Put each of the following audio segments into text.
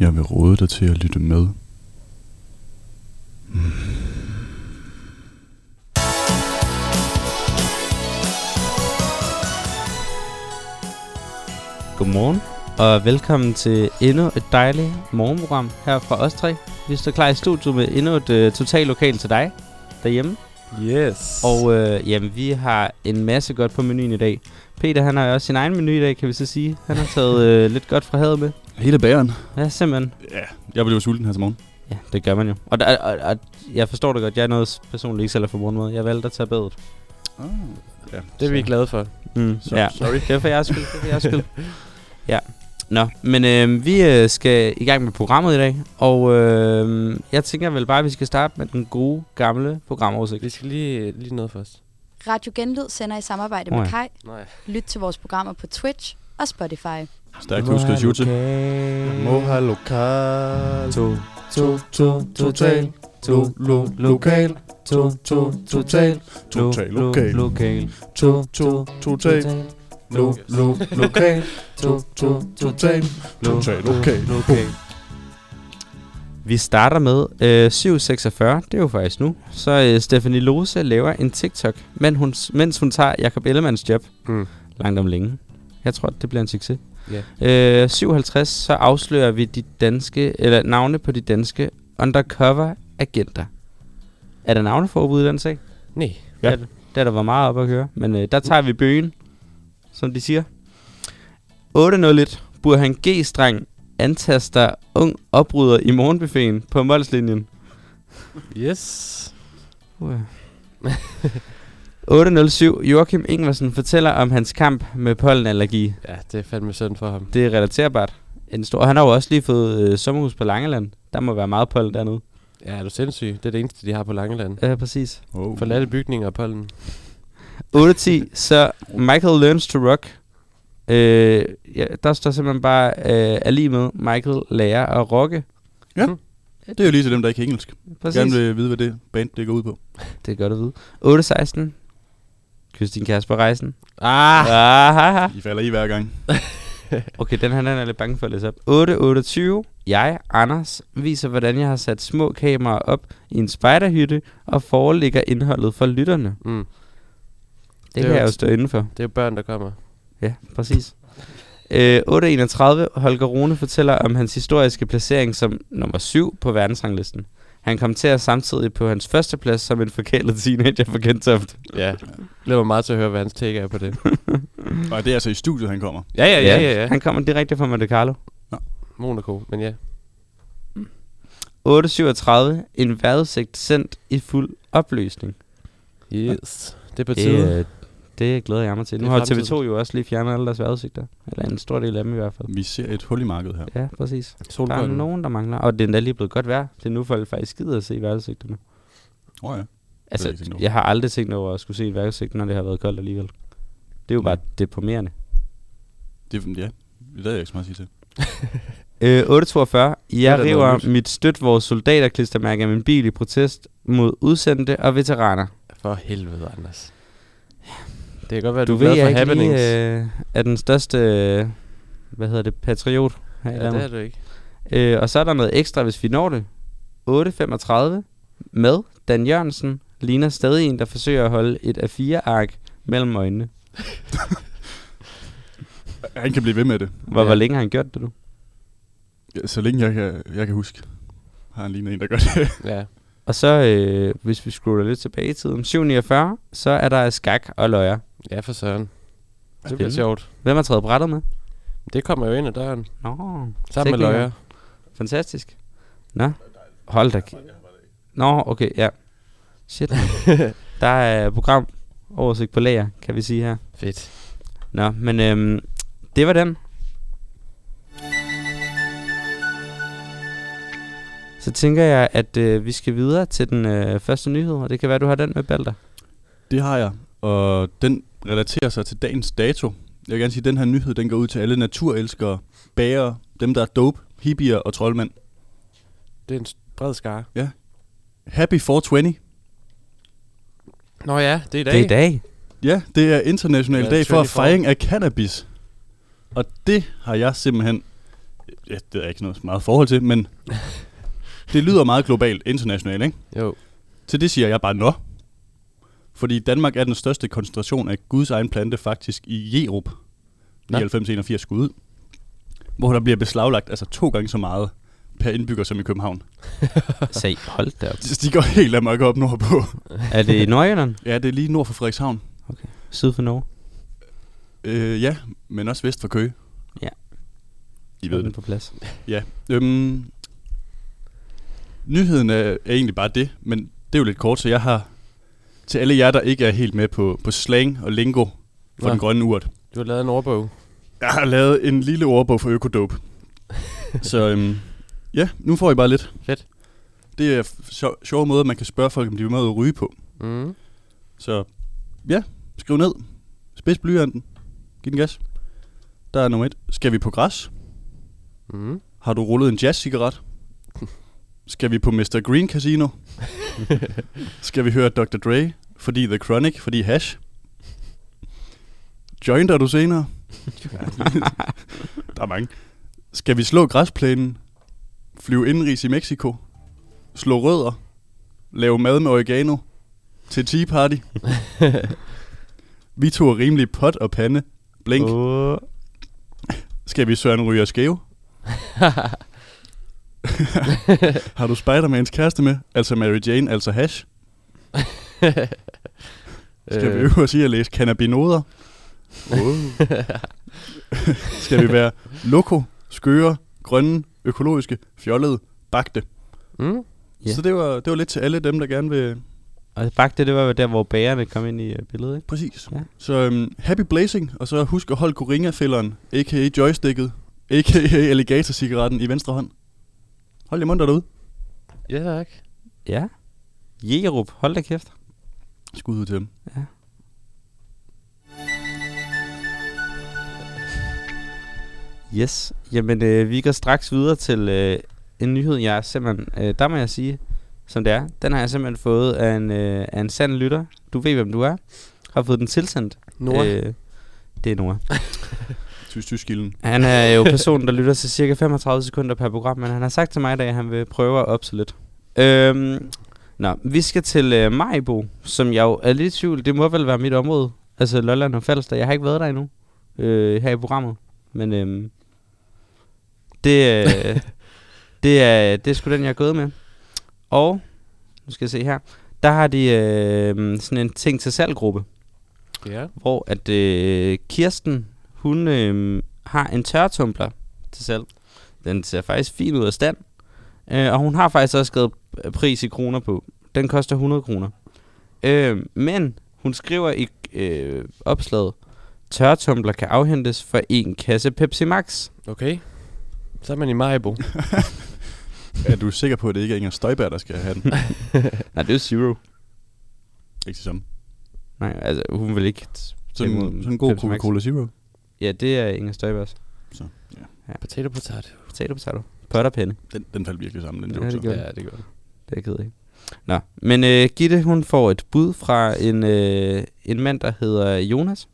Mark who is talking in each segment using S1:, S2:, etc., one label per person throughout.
S1: Jeg vil råde dig til at lytte med.
S2: Godmorgen, og velkommen til endnu et dejligt morgenprogram her fra os tre. Vi står klar i studiet med endnu et øh, totalt lokal til dig derhjemme.
S3: Yes.
S2: Og øh, jamen, vi har en masse godt på menuen i dag. Peter, han har jo også sin egen menu i dag, kan vi så sige. Han har taget øh, lidt godt fra havet med.
S1: Hele bæren.
S2: Ja, simpelthen.
S1: Ja, jeg blev sulten her til morgen.
S2: Ja, det gør man jo. Og, der, og, og jeg forstår det godt. Jeg er noget personligt ikke selv for morgenmad. Jeg valgte at tage badet.
S1: Ah.
S3: det er vi glade for.
S2: Mm,
S1: Så-
S2: ja.
S1: sorry.
S2: Det er for jeres skyld. Det er for jeres skyld. ja. Nå, men øh, vi øh, skal i gang med programmet i dag, og øh, jeg tænker vel bare, at vi skal starte med den gode, gamle programoversigt.
S3: Vi skal lige, lige noget først.
S4: Radio Genlyd sender i samarbejde
S2: Nå
S4: med
S2: ja.
S4: Kai.
S3: Nej.
S4: Lyt til vores programmer på Twitch og Spotify.
S1: Stærkt husket at shoot
S5: Moha lokal.
S3: To, to, to,
S5: Total.
S3: to,
S5: lo, lokal. To, to, total.
S1: Total lokal.
S3: lokal.
S5: To, to, total. Lo, lo, lokal. To, to, total. Total lokal.
S3: lokal.
S2: Vi starter med øh, 7.46, det er jo faktisk nu, så øh, Stephanie Lose laver en TikTok, men hun, mens hun tager Jakob Ellemanns job
S3: Mm.
S2: langt om længe. Jeg tror, det bliver en succes.
S3: Ja.
S2: Øh, 57, så afslører vi de danske, eller navne på de danske undercover agenter. Er der navneforbud i den sag?
S3: Nej.
S1: Ja.
S2: Der, der, der var meget op at køre, men øh, der tager vi bøgen, som de siger. 801, Burhan G-streng antaster ung oprydder i morgenbuffeten på Molslinjen.
S3: Yes.
S2: Uh. 807, Joachim Ingvarsen fortæller om hans kamp med pollenallergi.
S3: Ja, det er fandme synd for ham.
S2: Det er relaterbart. En stor, han har jo også lige fået øh, sommerhus på Langeland. Der må være meget pollen dernede.
S3: Ja, er du sindssyg? Det er det eneste, de har på Langeland.
S2: Ja, præcis.
S1: Oh.
S3: Forladte bygninger og pollen.
S2: 810, så Michael Learns to Rock. Øh, ja, der står simpelthen bare øh, er lige med Michael lærer at rocke.
S1: Det er jo lige til dem, der ikke kan engelsk.
S2: Præcis.
S1: Gerne vil vide, hvad det band det går ud på.
S2: Det er godt at vide. 816, kys din kæreste på rejsen.
S3: Ah!
S2: Ah.
S1: I falder i hver gang.
S2: Okay, den her den er jeg lidt bange for at læse op. 828. Jeg, Anders, viser, hvordan jeg har sat små kameraer op i en spejderhytte og forelægger indholdet for lytterne.
S3: Mm.
S2: Det,
S3: Det
S2: det
S3: er
S2: kan
S3: jo
S2: jeg jo
S3: et-
S2: stå indenfor.
S3: Det er jo børn, der kommer.
S2: Ja, præcis. Øh, 8.31. Holger Rune fortæller om hans historiske placering som nummer 7 på verdensranglisten. Han kom til at samtidig på hans førsteplads som en forkælet teenager for Gentofte.
S3: Ja. Glæder mig meget til at høre, hvad hans take er på det.
S1: Og det er altså i studiet, han kommer.
S3: Ja, ja, ja, ja, ja.
S2: Han kommer direkte fra Monte Carlo.
S3: Monaco, men ja.
S2: 8.37. En vejrudsigt sendt i fuld opløsning.
S3: Yes. Det er på tide.
S2: Det, øh, det glæder jeg mig til.
S3: Det
S2: Nu
S3: er
S2: har
S3: fremtiden.
S2: TV2 jo også lige fjernet alle deres vejrudsigter. Eller en stor del af dem i hvert fald.
S1: Vi ser et hul i markedet her.
S2: Ja, præcis. Der er
S3: Solkolden.
S2: nogen, der mangler. Og det er endda lige blevet godt vejr. Det er nu, folk faktisk gider at se vejrudsigterne.
S1: Åh oh, ja. Det har jeg ikke
S2: Altså,
S1: tænkt over.
S2: jeg har aldrig tænkt over at skulle se en vejrudsigt, når det har været koldt alligevel. Det er jo bare deprimerende.
S1: Det, ja. Det er jeg ikke så meget at sige til.
S2: Øh, 842. Jeg
S3: da noget nyt.
S2: river mit støt vores soldaterklistermærke af min bil i protest mod udsendte og veteraner.
S3: For helvede, Anders. Det kan godt være,
S2: Du
S3: du, du
S2: ved,
S3: er
S2: jeg
S3: glad for
S2: ikke
S3: happenings.
S2: lige, øh, er den største, øh, hvad hedder det, patriot her i
S3: ja,
S2: landet.
S3: det er du ikke.
S2: Øh, og så er der noget ekstra, hvis vi når det. 8.35 med Dan Jørgensen ligner stadig en, der forsøger at holde et A4-ark mellem øjnene.
S1: Han kan blive ved med det.
S2: Hvor, ja. hvor længe har han gjort det nu?
S1: Ja, Så længe jeg kan, jeg kan huske, har han lignet en, der gør det.
S3: Ja.
S2: Og så, øh, hvis vi scroller lidt tilbage i tiden, 7.49, så er der skak og løjer.
S3: ja, for søren. Det bliver
S2: Spændende.
S3: sjovt.
S2: Hvem har taget brættet med?
S3: Det kommer jo ind ad døren.
S2: Nå,
S3: Sammen med
S2: Teknikere.
S3: løjer.
S2: fantastisk. Nå, hold da. k- Nå, okay, ja. Shit. mand. der er program oversigt på lager, kan vi sige her.
S3: Fedt.
S2: Nå, men øhm, det var den. Så tænker jeg, at øh, vi skal videre til den øh, første nyhed, og det kan være, du har den med Balder.
S1: Det har jeg, og den relaterer sig til dagens dato. Jeg vil gerne sige, at den her nyhed den går ud til alle naturelskere, bagere, dem der er dope, hippier og troldmænd.
S3: Det er en s- bred skare.
S1: Happy 420.
S3: Nå ja, det er i dag.
S2: Det er i dag.
S1: Ja, det er international
S3: Ja,
S1: dag for
S3: 24.
S1: fejring af cannabis. Og det har jeg simpelthen ja, det er ikke noget meget forhold til, men det lyder meget globalt, internationalt, ikke?
S3: Jo.
S1: Til det siger jeg bare nå. Fordi i Danmark er den største koncentration af Guds egen plante faktisk i Jerup.
S3: Nå.
S1: 99-81 skud. ud, Hvor der bliver beslaglagt altså to gange så meget per indbygger som i København.
S2: Sag, hold da op.
S1: Så De går helt amok op nordpå.
S2: Er det i Nordjylland?
S1: Ja, det er lige nord for Frederikshavn.
S2: Syd for Norge?
S1: Øh, ja, men også vest for Køge.
S2: Ja.
S1: I ved det.
S2: på plads.
S1: Øhm, nyheden er, er egentlig bare det, men det er jo lidt kort, så jeg har til alle jer, der ikke er helt med på, på slang og lingo for
S3: Nå.
S1: den grønne urt.
S3: Du har lavet en ordbog.
S1: Jeg har lavet en lille ordbog for økodope. så øhm, ja, nu får I bare lidt.
S3: Fedt.
S1: Det er f- sjo- sjove måder, man kan spørge folk, om de vil med ud at ryge på.
S3: Mm.
S1: Så ja, skriv ned. Spids blyanten. Giv den gas. Der er nummer et. Skal vi på græs?
S3: Mm.
S1: Har du rullet en jazzcigaret? Skal vi på Mr. Green Casino? Skal vi høre Dr. Dre? Fordi The Chronic? Fordi hash? Jointer du senere? der er mange. Skal vi slå græsplænen? Flyve indenrigs i Mexico? Slå rødder? Lave mad med oregano? Til tea party? vi tog rimelig pot og pande. Blink.
S2: Oh.
S1: Skal vi Søren Ryger skæve? Har du Spidermans kæreste med? Altså Mary Jane, altså hash? Skal vi øve os i at læse cannabinoder? Wow. Skal vi være loko, skøre, grønne, økologiske, fjollede, bagte?
S3: Mm.
S2: Ja.
S1: Yeah. Så det var, det var lidt til alle dem, der gerne vil...
S2: Og bagte, det var jo der, hvor bærerne kom ind i øh, billedet, ikke?
S1: Præcis.
S2: Ja.
S1: Så um, happy blazing, og så husk at holde coringa-fælderen, a.k.a. joysticket, a.k.a. alligatorcigaretten i venstre hånd. Hold jer mundt derude.
S3: Ja, tak.
S2: Ja. Jerup, hold da kæft.
S1: Skud ud til dem.
S2: Ja. Yes. Jamen, øh, vi går straks videre til øh, en nyhed, jeg er simpelthen... Øh, der må jeg sige, som det er. Den har jeg simpelthen fået af en, øh, af en sand lytter. Du ved, hvem du er. Har fået den tilsendt.
S3: Nora. Øh.
S2: Øh, det er Nora.
S1: Tysk, tysk skilden.
S2: Han er jo personen, der lytter til cirka 35 sekunder per program, men han har sagt til mig i dag, at han vil prøve at opse lidt. Øhm, nå, vi skal til øh, Majbo, som jeg jo er lidt i tvivl. Det må vel være mit område. Altså Lolland og Falster. Jeg har ikke været der endnu øh, her i programmet. Men øhm, det, øh, det, er, det er sgu den, jeg er gået med. Og, nu skal jeg se her, der har de øh, sådan en ting til salggruppe
S3: Ja.
S2: hvor at øh, Kirsten, hun øh, har en tørretumbler til salg. Den ser faktisk fin ud af stand. Øh, og hun har faktisk også skrevet p- pris i kroner på. Den koster 100 kroner. Øh, men hun skriver i øh, opslaget, tørretumbler kan afhentes for en kasse Pepsi Max.
S3: Okay. Så er man i Majbo.
S1: Er du sikker på, at det ikke er Inger Støjberg, der skal have den?
S2: Nej, det er jo Zero.
S1: ikke det samme.
S2: Nej, altså hun vil ikke... t-
S1: Sådan,
S2: tage imod
S1: sådan en god
S2: Pepsi Max.
S1: Coca-Cola Zero.
S2: Ja, det er Inger Støjbergs.
S3: Potato, potato.
S2: Potato, potato. Potterpinde.
S1: Den, den faldt virkelig sammen, den
S2: Ja,
S1: joke.
S2: det
S1: så.
S2: gjorde den.
S3: Ja, det gør det.
S2: Det er jeg ked af. Nå, men øh, Gitte, hun får et bud fra en, øh, en mand, der hedder Jonas.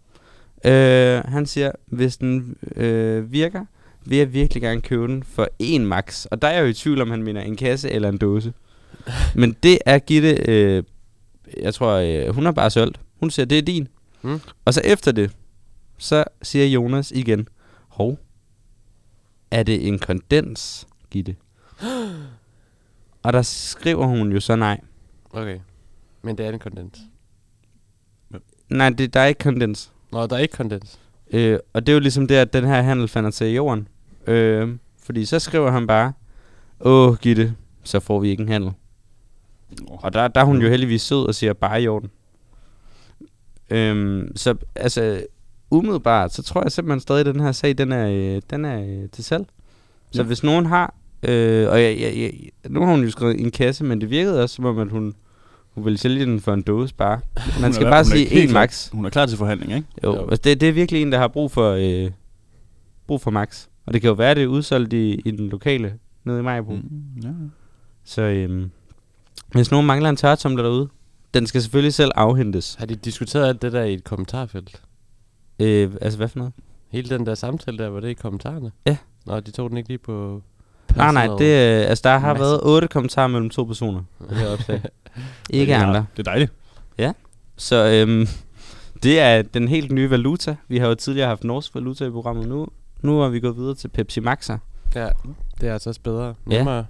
S2: Øh, han siger, hvis den øh, virker, vil jeg virkelig gerne købe den for en max. Og der er jeg jo i tvivl, om han mener en kasse eller en dåse. Men det er Gitte, øh, jeg tror, øh, hun har bare solgt. Hun siger, det er din.
S3: Mm.
S2: Og så efter det, så siger Jonas igen, hov, er det en kondens, Gitte? Og der skriver hun jo så nej.
S3: Okay. Men det er en kondens.
S2: Nej, det, der er ikke kondens.
S3: Nå, der er ikke kondens.
S2: Øh, og det er jo ligesom det, at den her handel fandt til jorden. Øh, fordi så skriver han bare, åh Gitte, så får vi ikke en handel.
S1: Åh.
S2: Og der, der er hun
S1: Mm.
S2: jo heldigvis sød og siger, bare i orden. Øhm, så altså, umiddelbart, så tror jeg simpelthen stadig, at den her sag, den er, øh, den er øh, til salg. Så
S1: Ja.
S2: hvis nogen har, øh, og jeg, jeg, jeg, nu har hun jo skrevet en kasse, men det virkede også som om, at hun, hun ville sælge den for en dåse bare. Man
S1: er
S2: skal
S1: der-
S2: bare
S1: hun er
S2: sige
S1: helt
S2: en
S1: klar-
S2: max.
S1: Hun er klar til forhandling, ikke?
S2: Jo,
S3: Jo.
S2: altså det, det er virkelig en, der har brug for, øh, brug for Max. Og det kan jo være, det er udsolgt i, i den lokale nede i Majbo. Mm.
S1: Mm, ja.
S2: Så øhm, hvis nogen mangler en tørretumbler derude, den skal selvfølgelig selv afhentes.
S3: Har de diskuteret alt det der i et kommentarfelt?
S2: Øh, altså hvad for noget?
S3: Hele den der samtale der, var det i kommentarerne?
S2: Ja.
S3: Nå, de tog den ikke lige på...
S2: Nej, nej, det, øh, altså der har
S3: Masse.
S2: været otte kommentarer mellem to personer. på Det her opslag. Ikke
S1: det er-
S2: andre.
S1: Det er dejligt.
S2: Så øhm, det er den helt nye valuta. Vi har jo tidligere haft norsk valuta i programmet. Nu, nu er vi gået videre til Pepsi Maxa.
S3: Ja, det er altså også bedre.
S2: Ja,
S3: Nemmere.
S2: Det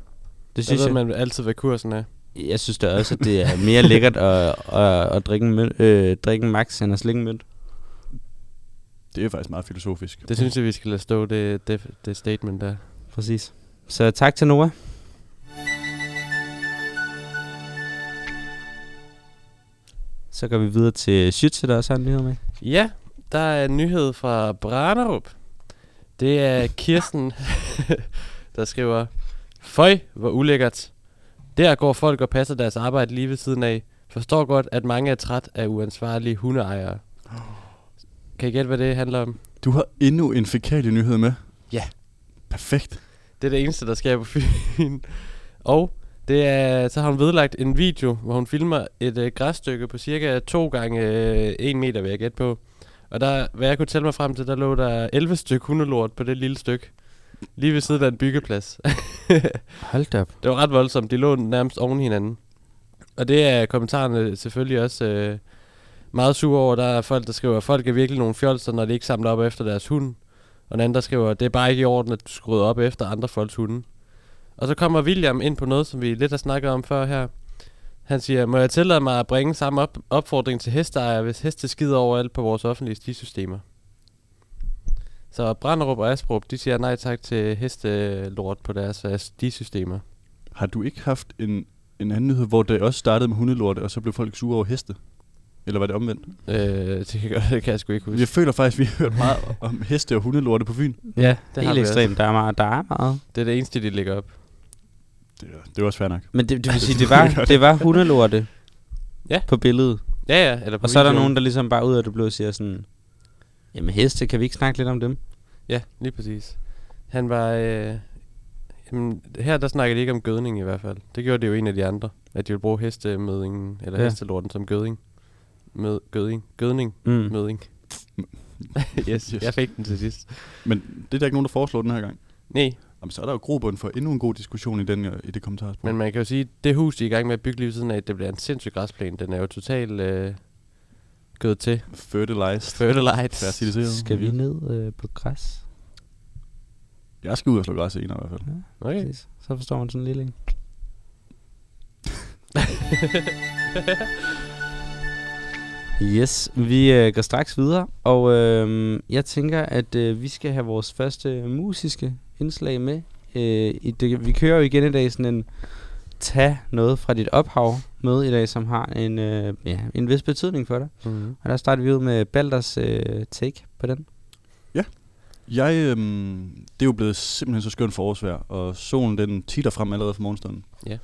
S3: Jeg
S2: synes
S3: ved
S2: jeg,
S3: man altid, hvad kursen er.
S2: jeg synes da også, at det er mere lækkert at, at, at drikke, en mønt, øh, drikke en Max end at slikke en mønt.
S1: Det er faktisk meget filosofisk.
S3: Det synes jeg, vi skal lade stå, det, det, det statement der.
S2: Præcis. Så tak til Nora. Så går vi videre til Schütze, der også har en nyhed med.
S3: Ja, der er en nyhed fra Branderup. Det er Kirsten, der skriver, Føj, hvor ulækkert. Der går folk og passer deres arbejde lige ved siden af. Forstår godt, at mange er træt af uansvarlige hundeejere. Kan I gætte, hvad det handler om?
S1: Du har endnu en fækalie nyhed med.
S3: Ja.
S1: Perfekt.
S3: Det er det eneste, der sker på Fyn. Og det er, så har hun vedlagt en video, hvor hun filmer et øh, græsstykke på cirka 2 gange øh, 1 meter, vil jeg gætte på. Og der, hvad jeg kunne tælle mig frem til, der lå der 11 styk hundelort på det lille stykke. Lige ved siden af en byggeplads.
S2: Hold da op.
S3: det var ret voldsomt. De lå nærmest oven hinanden. Og det er kommentarerne selvfølgelig også øh, meget sure over. Der er folk, der skriver, at folk er virkelig nogle fjolser, når de ikke samler op efter deres hund. Og en anden, der skriver, at det er bare ikke i orden, at du skal rydde op efter andre folks hunde. Og så kommer William ind på noget, som vi lidt har snakket om før her. Han siger, må jeg tillade mig at bringe samme op- opfordring til hesteejere, hvis heste skider overalt på vores offentlige stisystemer? Så Branderup og Asbrup, de siger nej tak til hestelort på deres øh, stisystemer.
S1: Har du ikke haft en, en anden nyhed, hvor det også startede med hundelorte, og så blev folk sure over heste? Eller var det omvendt?
S3: Øh, det kan, jeg godt- det kan jeg sgu ikke huske.
S1: Jeg føler faktisk, vi har hørt meget om heste og hundelorte på Fyn.
S3: Ja, det har
S2: Helt
S3: vi også.
S2: ekstremt. Der er meget. Der er meget.
S3: Det er det eneste, de lægger op.
S1: Det er, det er også fair nok.
S2: Men det, det vil sige, det var, det var hundelorte
S3: Ja.
S2: på billedet.
S3: Ja, ja. Eller på
S2: Og så er der
S3: videoen.
S2: nogen, der ligesom bare ud af det blå siger sådan, jamen heste, kan vi ikke snakke lidt om dem?
S3: Ja, lige præcis. Han var... Øh, jamen, her der snakker de ikke om gødning i hvert fald. Det gjorde det jo en af de andre. At de ville bruge hestemødingen, eller
S2: Ja.
S3: ja. hestelorten som gødning. Med, gødning. Gødning.
S2: Mm.
S3: Møding. yes,
S1: Yes.
S3: yes, jeg fik den til sidst.
S1: Men det er der ikke nogen, der foreslår den her gang.
S3: Nej,
S1: Jamen, så er der jo grobund for endnu en god diskussion i, den, øh, i det kommentarspor.
S3: men man kan jo sige, det hus, de er i gang med at bygge lige ved siden af, det bliver en sindssyg græsplæne. Den er jo totalt øh, gået til.
S1: Fertilized.
S3: Fertilized.
S1: Fertiliseret.
S2: Skal vi ned øh, på græs?
S1: Jeg skal ud og slå græs senere i hvert fald.
S3: Okay.
S2: Okay. Så forstår man sådan en lille en. yes, vi øh, går straks videre, og øh, jeg tænker, at øh, vi skal have vores første musiske indslag med. Øh, i det, vi kører jo igen i dag sådan en tag noget fra dit ophav med i dag, som har en, øh, ja, en vis betydning for dig.
S3: Mm-hmm.
S2: Og der starter vi ud med Balders øh, take på den.
S1: Jeg, øhm, det er jo blevet simpelthen så skønt forårsvejr, og solen den titter frem allerede fra morgenstunden.
S3: Ja.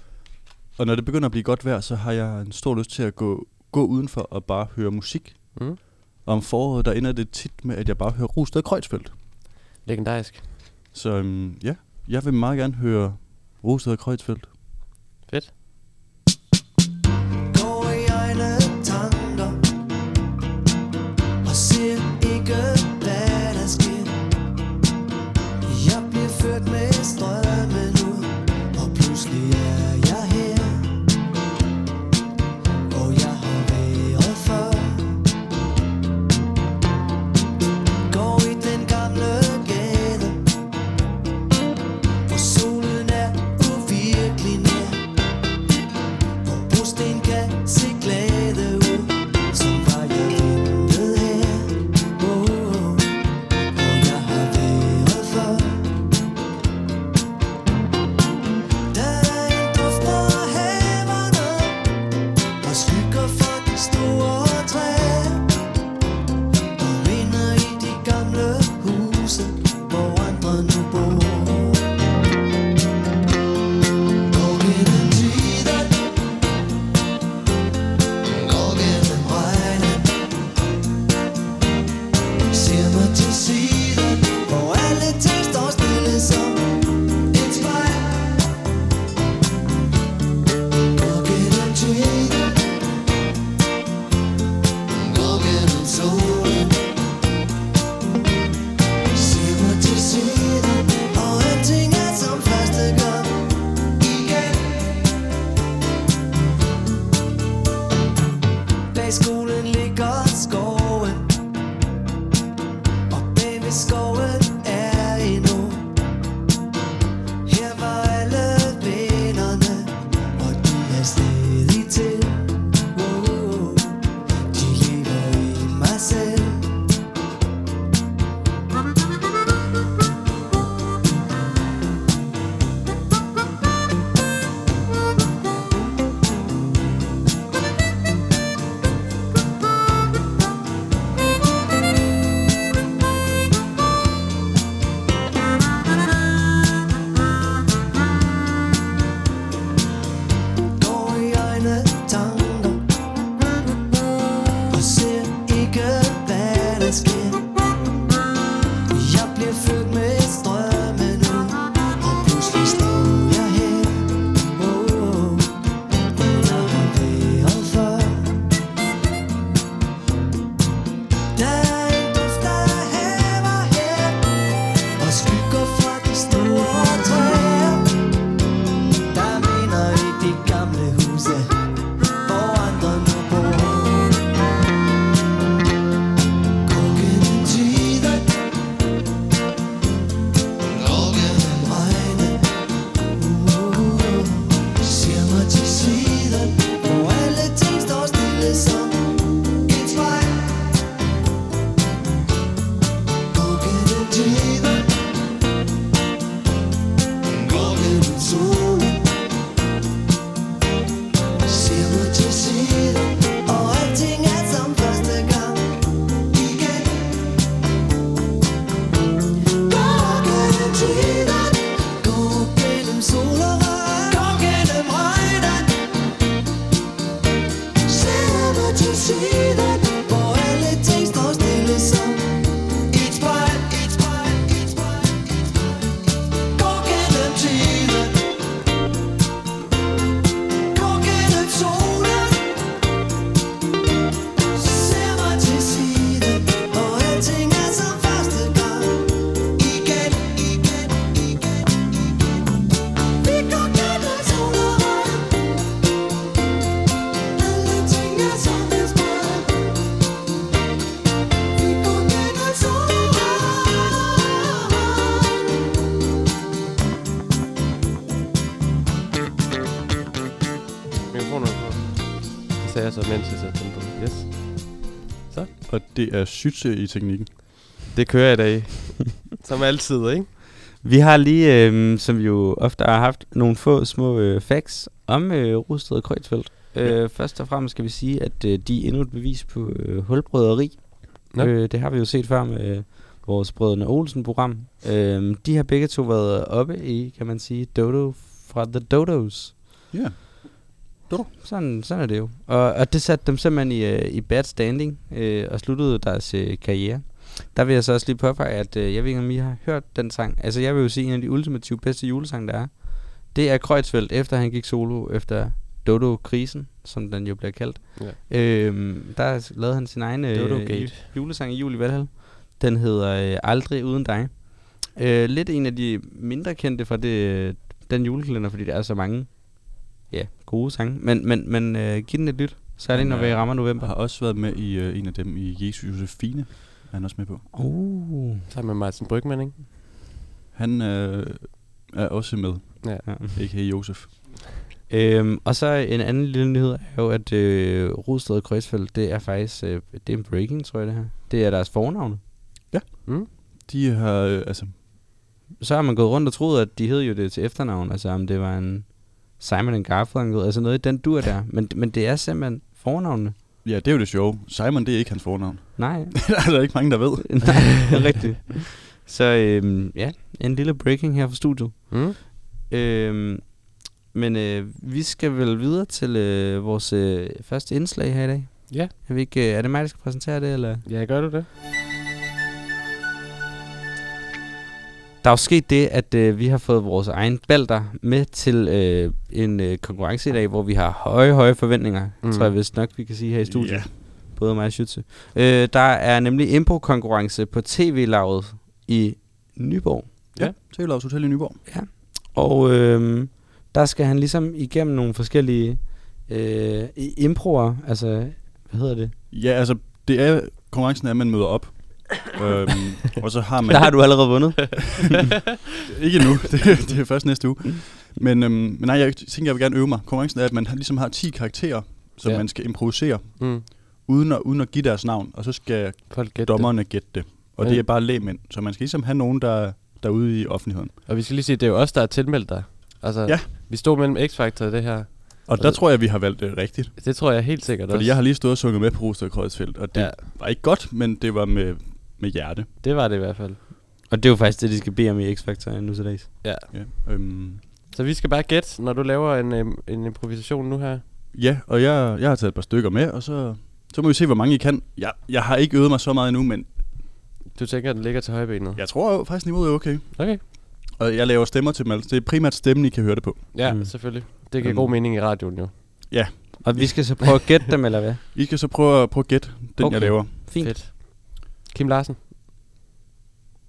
S1: Og når det begynder at blive godt vejr, så har jeg en stor lyst til at gå, gå udenfor og bare høre musik.
S3: Mm.
S1: Og om foråret, der ender det tit med, at jeg bare hører Rosted Kreuzfeldt.
S3: Legendarisk.
S1: Så øhm, ja, jeg vil meget gerne høre Rosted og Kreuzfeldt.
S3: Fedt.
S6: Går i egne tanker Og ser ikke, hvad der sker Jeg bliver ført med strømmen ud Og pludselig er jeg her Hvor jeg har været før Går i den gamle gade Hvor solen er uvirkelig nær Uh,
S3: sagde jeg så, mens jeg satte den på. Yes.
S1: Og det er sytse i teknikken.
S3: Det kører jeg da i. Som altid, ikke?
S2: Vi har lige, øh, som vi jo ofte har haft, nogle få små øh, facts om øh, Rusted og Kreuzfeldt. Øh, først og fremmest skal vi sige, at øh, de er endnu et bevis på øh, hulbrøderi.
S3: Nå.
S2: Øh, det har vi jo set før med øh, vores Brødrene Olsen-program. Øh, de har begge to været oppe i, kan man sige, Dodo fra The Dodos.
S1: Ja.
S2: Sådan, sådan er det jo. Og, og det satte dem simpelthen i, øh, i bad standing øh, og sluttede deres øh, karriere. Der vil jeg så også lige påpege, at øh, jeg ved ikke, om I har hørt den sang. Altså, jeg vil jo sige, en af de ultimative bedste julesange, der er. Det er Kreuzfeldt, efter han gik solo efter Dodo-krisen, som den jo bliver kaldt. Ja. Øhm, der lavede han sin egen øh,
S3: Dodo-gate.
S2: ju- julesang i jul i Valhall. Den hedder øh, Aldrig Uden Dig. Øh, lidt en af de mindre kendte fra det, øh, den julekalender, fordi der er så mange ja, gode sange. Men, men, men øh, giv den et lyt, særligt når
S1: Men, øh,
S2: vi rammer november.
S1: Jeg har også været med i øh, en af dem i Jesus Josefine. Er han også med på.
S2: Uh.
S3: Sammen med Martin Brygman, ikke?
S1: Han øh, er også med,
S2: Ja.
S1: a.k.a. Josef.
S2: Øhm, og så en anden lille nyhed er jo, at øh, Rusted og Kreuzfeldt, det er faktisk, øh, det er en breaking, tror jeg det her. Det er deres fornavne.
S3: Mm?
S1: De har, øh, altså,
S2: Så har man gået rundt og troet, at de hed jo det til efternavn, altså om det var en Simon and Garfunkel, altså noget i den dur der. Men, men det er simpelthen fornavnene.
S1: ja, det er jo det sjove. Simon, det er ikke hans fornavn.
S2: Nej,
S1: der er der ikke mange, der ved.
S2: nej, rigtigt. Så øhm, ja, en lille breaking her fra studiet.
S3: Mm?
S2: Øhm, men øh, vi skal vel videre til øh, vores øh, første indslag her i dag.
S3: Ja.
S2: Er, vi ikke, øh, er det mig, der skal præsentere det, eller?
S3: Ja, gør du det?
S2: Der er jo sket det, at øh, vi har fået vores egen balder med til øh, en øh, konkurrence i dag, hvor vi har høje, høje forventninger,
S3: Mm.
S2: mm. tror jeg vist nok, vi kan sige her i studiet.
S1: Ja.
S2: Både mig og Schütze. Øh, der er nemlig impro-konkurrence på tv-lavet i Nyborg.
S1: Ja, til Lavs Hotel i Nyborg.
S2: Og øh, der skal han ligesom igennem nogle forskellige øh, i- improer, altså, hvad hedder det?
S1: Ja, altså, det er, konkurrencen er, at man møder op. øhm, og så har man...
S2: Der har du allerede vundet.
S1: Ikke nu, det, det er først næste uge. Men, øhm, men nej, jeg tænker, jeg vil gerne øve mig. Konkurrencen er, at man har- ligesom har 10 karakterer, som
S2: Ja.
S1: ja. man skal improvisere,
S3: Mm.
S1: uden at, uden at give deres navn, og så skal
S3: Folk gætter det.
S1: dommerne gætte det. Og
S3: Ja.
S1: det er bare lægmænd, så man skal ligesom have nogen, der, der er ude i offentligheden.
S3: Og vi skal lige sige, det er jo os, der er tilmeldt dig. Altså,
S1: Ja.
S3: vi stod mellem X-Factor og det her.
S1: Og der tror jeg, vi har valgt det rigtigt.
S3: Det tror jeg helt sikkert
S1: Fordi
S3: også.
S1: jeg har lige stået og sunget med på Roster og Kreuzfeldt, og det
S3: Ja.
S1: ja. var ikke godt, men det var med, med hjerte.
S3: Det var det i hvert fald.
S2: Og det er jo faktisk det, de skal bede om i X-Factor nu til dags.
S1: Ja, øhm,
S3: Så vi skal bare gætte, når du laver en, øhm, en improvisation nu her.
S1: ja og jeg, jeg har taget et par stykker med, og så, så må vi se, hvor mange I kan. Jeg, jeg har ikke øvet mig så meget endnu, men
S3: Du tænker, at den ligger til højbenet.
S1: jeg tror jo faktisk, niveauet er okay.
S3: Okay.
S1: Og jeg laver stemmer til dem alle. Det er primært stemmen, I kan høre det på.
S3: Ja, mm.
S2: Mm.
S3: selvfølgelig. Det giver
S1: Øhm.
S3: god mening i radioen jo.
S2: Og vi skal så prøve at gætte dem, eller hvad?
S1: I skal så prøve at, prøve at gætte den, okay.
S2: Okay.
S1: jeg laver.
S2: Fint.
S3: Fedt. Kim Larsen.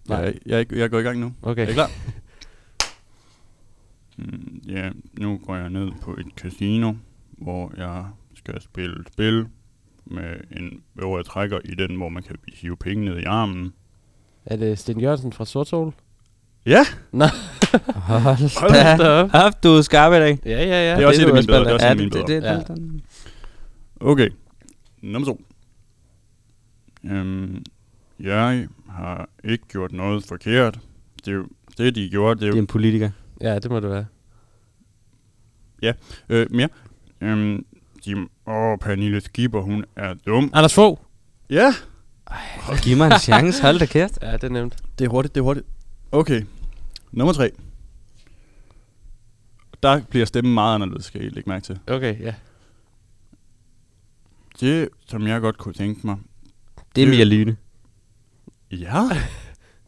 S3: Nej.
S1: Jeg, jeg, jeg går i gang nu.
S3: Okay.
S1: Er I klar? Mm, ja, nu går jeg ned på et casino, hvor jeg skal spille et spil, med en, hvor jeg trækker i den, hvor man kan hive penge ned i armen.
S3: Er det Sten Jørgensen fra Sort Sol?
S1: Ja,
S2: Hold
S1: Hold
S2: da
S3: da op.
S2: op, du er skarp i dag.
S3: Ja, ja, ja.
S1: Det er også
S2: du
S1: en af mine bedre, det er
S2: spændt
S1: også
S2: af.
S1: en af
S2: Ja,
S1: mine
S2: det-
S1: bedre.
S2: det- det- den-
S1: okay. Nummer to. Øhm, jeg har ikke gjort noget forkert. Det, er jo- det de gjorde, det, er
S2: Det er
S1: jo-
S2: en politiker.
S3: Ja, det må det være.
S1: øh, mere. Øhm, de, åh, Pernille Skipper, hun er dum.
S3: Anders Fogh.
S1: Ja,
S2: Giv mig en chance, hold da kæft.
S3: Ja, det er nemt.
S1: Det er hurtigt, det er hurtigt. Okay. Nummer tre. Der bliver stemmen meget anderledes, skal I lægge mærke til.
S3: Okay, ja.
S1: Det, som jeg godt kunne tænke mig.
S2: Det er Mia Lyne.
S1: Ja.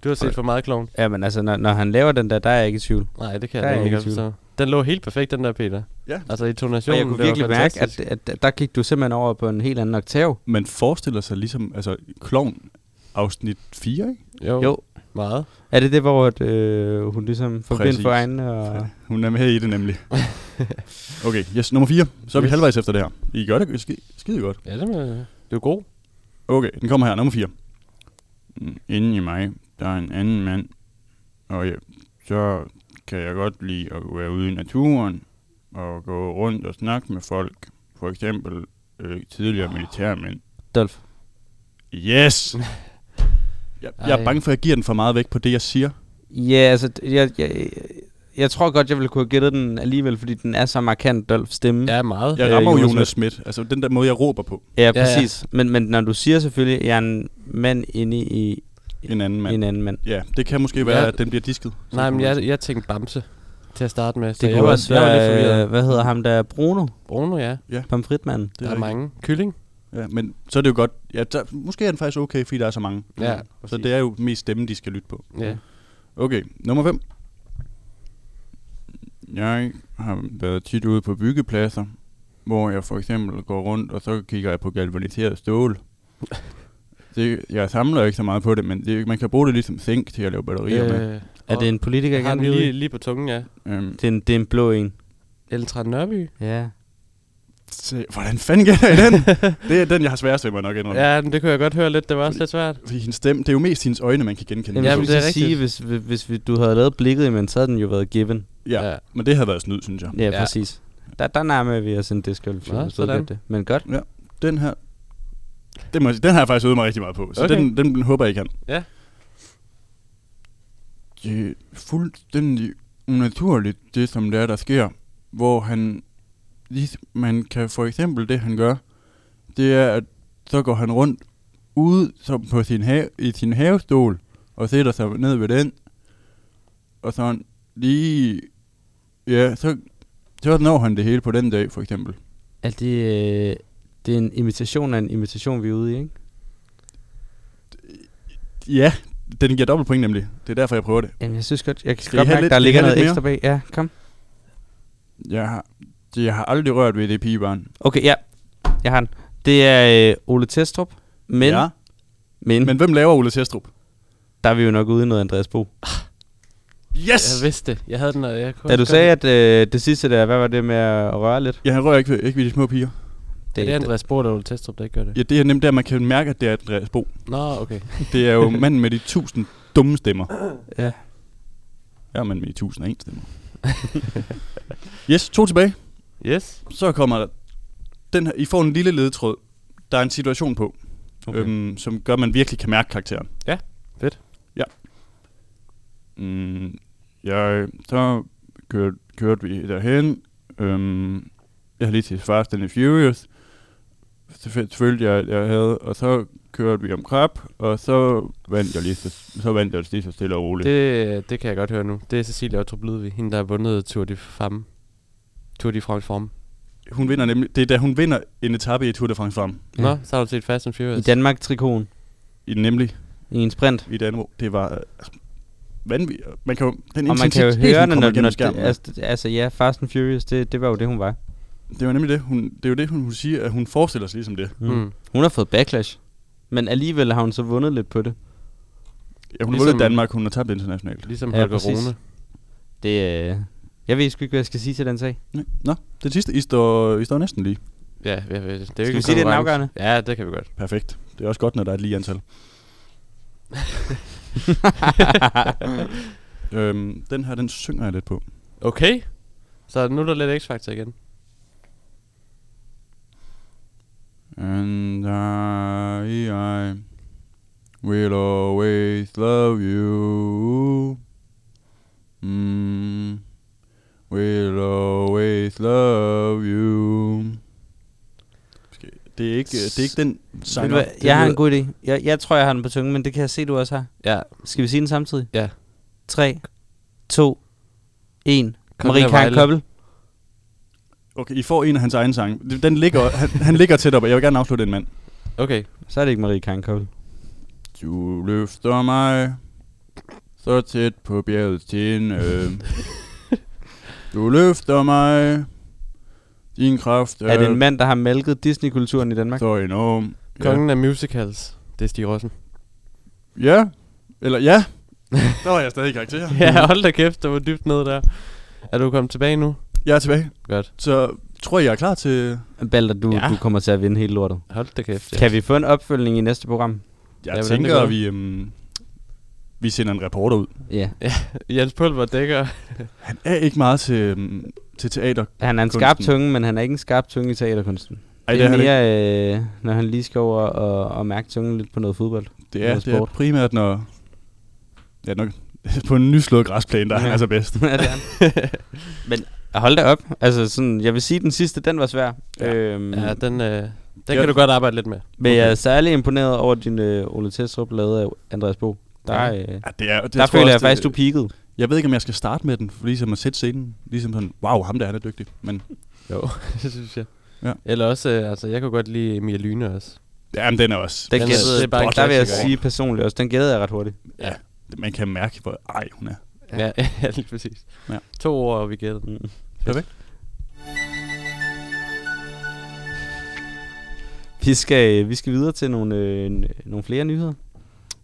S3: Du har set for meget klovn.
S2: Jamen altså, når, når han laver den der, der er jeg ikke i tvivl.
S3: Nej, det kan
S2: Der er
S3: jeg da ikke
S2: ikke
S3: godt
S2: tvivl.
S3: forstå. Den lå helt perfekt, den der, Peter.
S1: Ja.
S3: Altså i
S2: Og
S3: tonationen,
S2: jeg kunne
S3: det var
S2: virkelig mærke, at,
S3: fantastisk.
S2: at at der gik du simpelthen over på en helt anden oktav.
S1: Man forestiller sig ligesom, altså, klovn afsnit 4, ikke?
S3: Jo, jo.
S2: Jo.
S3: meget.
S2: Er det det, hvor at, øh, hun ligesom får blind
S1: Præcis.
S2: for øjnene? Og...
S1: Hun er med i det nemlig. Okay, yes, nummer 4. Så er vi
S3: Yes.
S1: halvvejs efter det her. I gør det skide, skide godt.
S3: Ja, det var, det var god.
S1: Mm. Okay, den kommer her, nummer 4. Inden i mig, der er en anden mand, og ja, så kan jeg godt lide at være ude i naturen og gå rundt og snakke med folk. For eksempel øh, tidligere militærmænd.
S2: Dolf.
S1: Yes! Jeg, jeg er
S3: Ej. Øh,
S1: bange for, at jeg giver den for meget væk på det, jeg siger.
S2: Ja, altså, d- jeg, jeg, jeg tror godt, jeg ville kunne have gættet den alligevel, fordi den er så markant Dolf stemme.
S3: Ja, meget.
S1: Jeg
S2: Øh,
S1: rammer jo
S2: Jonas
S1: Jonas Schmidt. Altså den der måde, jeg råber på
S2: ja
S3: ja.
S2: præcis. Men, men når du siger selvfølgelig, at jeg er en mand inde i
S1: en anden mand.
S2: en anden mand.
S1: Ja, det kan måske være,
S3: Ja.
S1: at den bliver disket.
S3: Nej, men jeg, jeg tænkte Bamse til at starte med. Så
S2: Det
S3: jeg
S2: kunne
S3: var,
S2: også
S3: jeg var lidt
S2: være,
S3: forvirret.
S2: øh, hvad hedder ham der, er Bruno?
S3: Bruno, ja.
S2: Pomfritmanden.
S1: Det
S3: Der er
S1: rigtigt.
S3: mange. Kylling?
S1: Ja, men så er det jo godt. Ja, der, måske er den faktisk okay, fordi der er så mange.
S3: Ja,
S1: Så det er jo mest stemmen, de skal lytte på.
S3: Ja.
S1: Okay, nummer 5. Jeg har været tit ude på byggepladser, hvor jeg for eksempel går rundt, og så kigger jeg på galvaniseret stål. Det, jeg samler ikke så meget på det, men det, man kan bruge det ligesom zink til at lave batterier øh, med.
S3: Øh,
S2: Er det en politiker,
S3: jeg
S2: jeg
S3: har
S2: gerne
S3: den
S2: vil
S3: lige,
S2: lige...
S3: lige på tungen, ja.
S1: Øhm,
S2: Det er, en, det er en blå en.
S3: Ellen Tran Nørby?
S2: Ja.
S1: se, hvordan fanden gælder jeg den? det er den, jeg har sværest ved mig nok indrømme. Ja.
S3: Ja, men det kunne jeg godt høre lidt. Det var også lidt svært.
S1: Fordi hendes stemme, det er jo mest hendes øjne, man kan genkende.
S2: Jamen,
S3: Ja,
S2: jeg
S3: men
S2: vil
S3: det er
S2: så sige, hvis, hvis, hvis vi- du havde lavet blikket imens, så havde den jo været given.
S1: ja,
S3: ja.
S1: men det havde været snyd, synes jeg.
S2: Ja,
S3: Ja.
S2: ja. præcis. Der, der nærmer vi os en disqualifikation,
S3: Nå,
S2: hvis du havde
S3: sådan.
S2: gjort det. Men godt.
S1: Den her, den, må, jeg sige, den har jeg faktisk øvet mig rigtig meget på, så
S3: Okay.
S1: okay. den, den håber jeg, I kan.
S3: Ja.
S1: Det er fuldstændig unaturligt, det som der, der sker, hvor han, ligesom- man kan for eksempel det, han gør, det er, at så går han rundt ude som på sin have, i sin havestol, og sætter sig ned ved den, og sådan lige, ja, så, så når han det hele på den dag, for eksempel.
S2: Er det, øh, det er en imitation af en imitation, vi er ude i, ikke?
S1: Ja, den giver dobbelt point nemlig. Det er derfor, jeg prøver det.
S2: Jamen, jeg synes godt, jeg kan
S1: Skal I
S2: godt
S1: have
S2: mærke,
S1: lidt-
S2: der
S1: skal I
S2: ligger
S1: have
S2: noget
S1: lidt
S2: ekstra bag. Ja, kom.
S1: Jeg har, jeg har aldrig rørt ved det pigebarn.
S2: Okay, ja. Jeg har den. Det er øh, Ole Testrup. Men,
S1: ja,
S2: ja. men,
S1: men
S2: men,
S1: hvem laver Ole Testrup?
S2: der er vi jo nok ude i noget Andreas Bo.
S1: Yes!
S3: Jeg vidste det. Jeg havde den, og jeg kunne
S2: Da
S3: også
S2: du
S3: godt-
S2: sagde, at øh, det sidste der, hvad var det med at røre lidt?
S1: Ja, han rører ikke ved, ikke ved de små piger.
S3: Ja, det er Andreas Bort og Ole Testrup, der ikke gør det.
S1: Ja, det er nemt der, man kan mærke, at det er Andreas Bo.
S3: Nå, okay.
S1: Det er jo manden med de tusind dumme stemmer.
S2: Ja.
S1: Jeg er manden med de tusind og en stemmer. yes, to tilbage.
S3: Yes.
S1: Så kommer der. Den her, I får en lille ledetråd. Der er en situation på, okay.
S2: Okay.
S1: øhm, som gør, at man virkelig kan mærke karakteren.
S3: Ja, fedt.
S1: Ja. Mm, jeg, så kørte, kørte vi derhen. Øhm, jeg har lige til Fast and the Furious. Selvfø- Selvfølgelig, jeg, jeg havde. Og så kørte vi om krab, og så vandt jeg lige så, så vandt jeg lige så stille og roligt.
S3: Det, det kan jeg godt høre nu. Det er Cecilia Otrup Ludvig, hende der har vundet Tour de Femme. Tour de France Form.
S1: Hun vinder nemlig, det er da hun vinder en etape i Tour de France Farm.
S2: Ja.
S3: Nå, så har du set Fast and Furious.
S2: I Danmark-trikoen.
S1: I, nemlig
S2: I en sprint.
S1: i Danmark. Det var øh, altså, vanvittigt. Man kan jo, den
S2: Og man kan jo
S1: intensitet,
S2: høre
S1: hun
S2: det,
S1: kommer
S2: når,
S1: igennem
S2: når det,
S1: skærmen.
S2: altså, det- altså ja, Fast and Furious, det, det var jo det, hun var.
S1: Det var nemlig det. Hun, det er jo det, hun siger, at hun forestiller sig ligesom det.
S3: Mm.
S2: Hun har fået backlash, men alligevel har hun så vundet lidt på det.
S1: Ja, hun har
S3: Ligesom-
S1: vundet i Danmark, hun har tabt internationalt.
S3: Ligesom
S2: Ja,
S3: Holger
S2: præcis.
S3: Rune.
S2: Det, øh, jeg ved sgu ikke, hvad jeg skal sige til den sag.
S1: Nej. Nå, det sidste. I står, I står næsten lige.
S3: Ja, jeg ved det. det er jo
S2: Skal
S3: ikke
S2: vi
S3: en
S2: sige, det er den
S3: konkurrence.
S2: afgørende?
S3: Ja, det kan vi godt.
S1: Perfekt. Det er også godt, når der er et lige antal. øhm, den her, den synger jeg lidt på.
S3: Okay. Så nu er der lidt X-Factor igen.
S1: And I, I will always love you. Mm, will always love you. Det er ikke, det er ikke den
S2: Ved
S1: sang.
S2: du hvad, jeg har en god idé. Jeg, jeg tror, jeg har den på tungen, men det kan jeg se, du også har.
S3: Ja.
S2: Skal vi sige den samtidig?
S3: Ja.
S2: 3, 2, 1.
S3: Kom
S2: Marie
S3: her,
S2: Karen
S3: Vejle.
S2: Koppel.
S1: Okay, I får en af hans egne sange. Den ligger, han, han ligger tæt op, og jeg vil gerne afslutte en mand.
S3: Okay.
S2: Så er det ikke Marie Karen Koppel.
S1: Du løfter mig så tæt på bjergets tinde. du løfter mig. Din kraft er,
S2: Er det en mand, der har mælket Disney-kulturen i Danmark?
S1: så enorm. Ja.
S3: Kongen af musicals. Det er Stig Rossen.
S1: ja. Eller ja. Der var jeg stadig i karakter.
S3: ja, hold da kæft, der var dybt nede der. Er du kommet tilbage nu?
S1: Jeg er tilbage.
S3: Godt.
S1: Så tror jeg, jeg er klar til...
S2: Balder, du,
S3: Ja.
S2: ja. du kommer til at vinde hele lortet.
S3: Hold da kæft.
S2: Kan vi få en opfølgning i næste program?
S1: Jeg
S3: Ja,
S1: ja,
S3: hvordan det
S1: tænker,
S3: går.
S1: at vi, øhm, vi sender en reporter ud.
S2: Ja.
S3: Jens Pulver dækker.
S1: Han er ikke meget til, øhm, til teater.
S2: Han er en
S1: Kunsten.
S2: skarp tunge, men han er ikke en skarp tunge i teaterkunsten.
S1: Ej,
S2: det er
S1: han ikke.
S2: mere, øh, når han lige skal over og, og mærke tungen lidt på noget fodbold.
S1: Det er,
S2: noget
S1: det er
S2: sport.
S1: primært, når... Ja, nok på en nyslået græsplæne, der er han
S2: Ja.
S1: altså bedst.
S2: ja, det er han. Men hold da op. Altså, sådan, jeg vil sige, at den sidste, den var svær. Ja.
S1: Mm.
S2: Øhm,
S3: Ja,
S2: ja,
S3: den, øh, den
S1: Ja.
S3: kan du godt arbejde lidt med.
S2: men jeg er særlig imponeret over din øh, Ole Testrup lavet af Andreas Bo. Der, øh,
S1: Ja, det er, det
S2: der
S1: tror
S2: føler
S1: også,
S2: jeg
S1: det-
S2: faktisk, du peakede.
S1: Jeg ved ikke, om jeg skal starte med den, for ligesom at sætte scenen. Ligesom sådan, wow, ham der, han er dygtig. Men
S3: Jo, det synes jeg.
S1: Ja.
S3: Eller også, øh, altså, jeg kunne godt lide Emil Lyne også.
S1: jamen, den er også...
S2: Den
S3: Den er-
S2: gættede,
S3: det er bare en
S2: der vil jeg
S3: klassiker.
S2: sige personligt også, den gættede jeg ret hurtigt.
S1: Man kan mærke, hvor ej hun er.
S3: Ja, ja lige præcis.
S1: Ja.
S3: To ord, og vi gættede den.
S2: Mm. Vi skal, øh, vi skal videre til nogle, øh, n- nogle flere nyheder.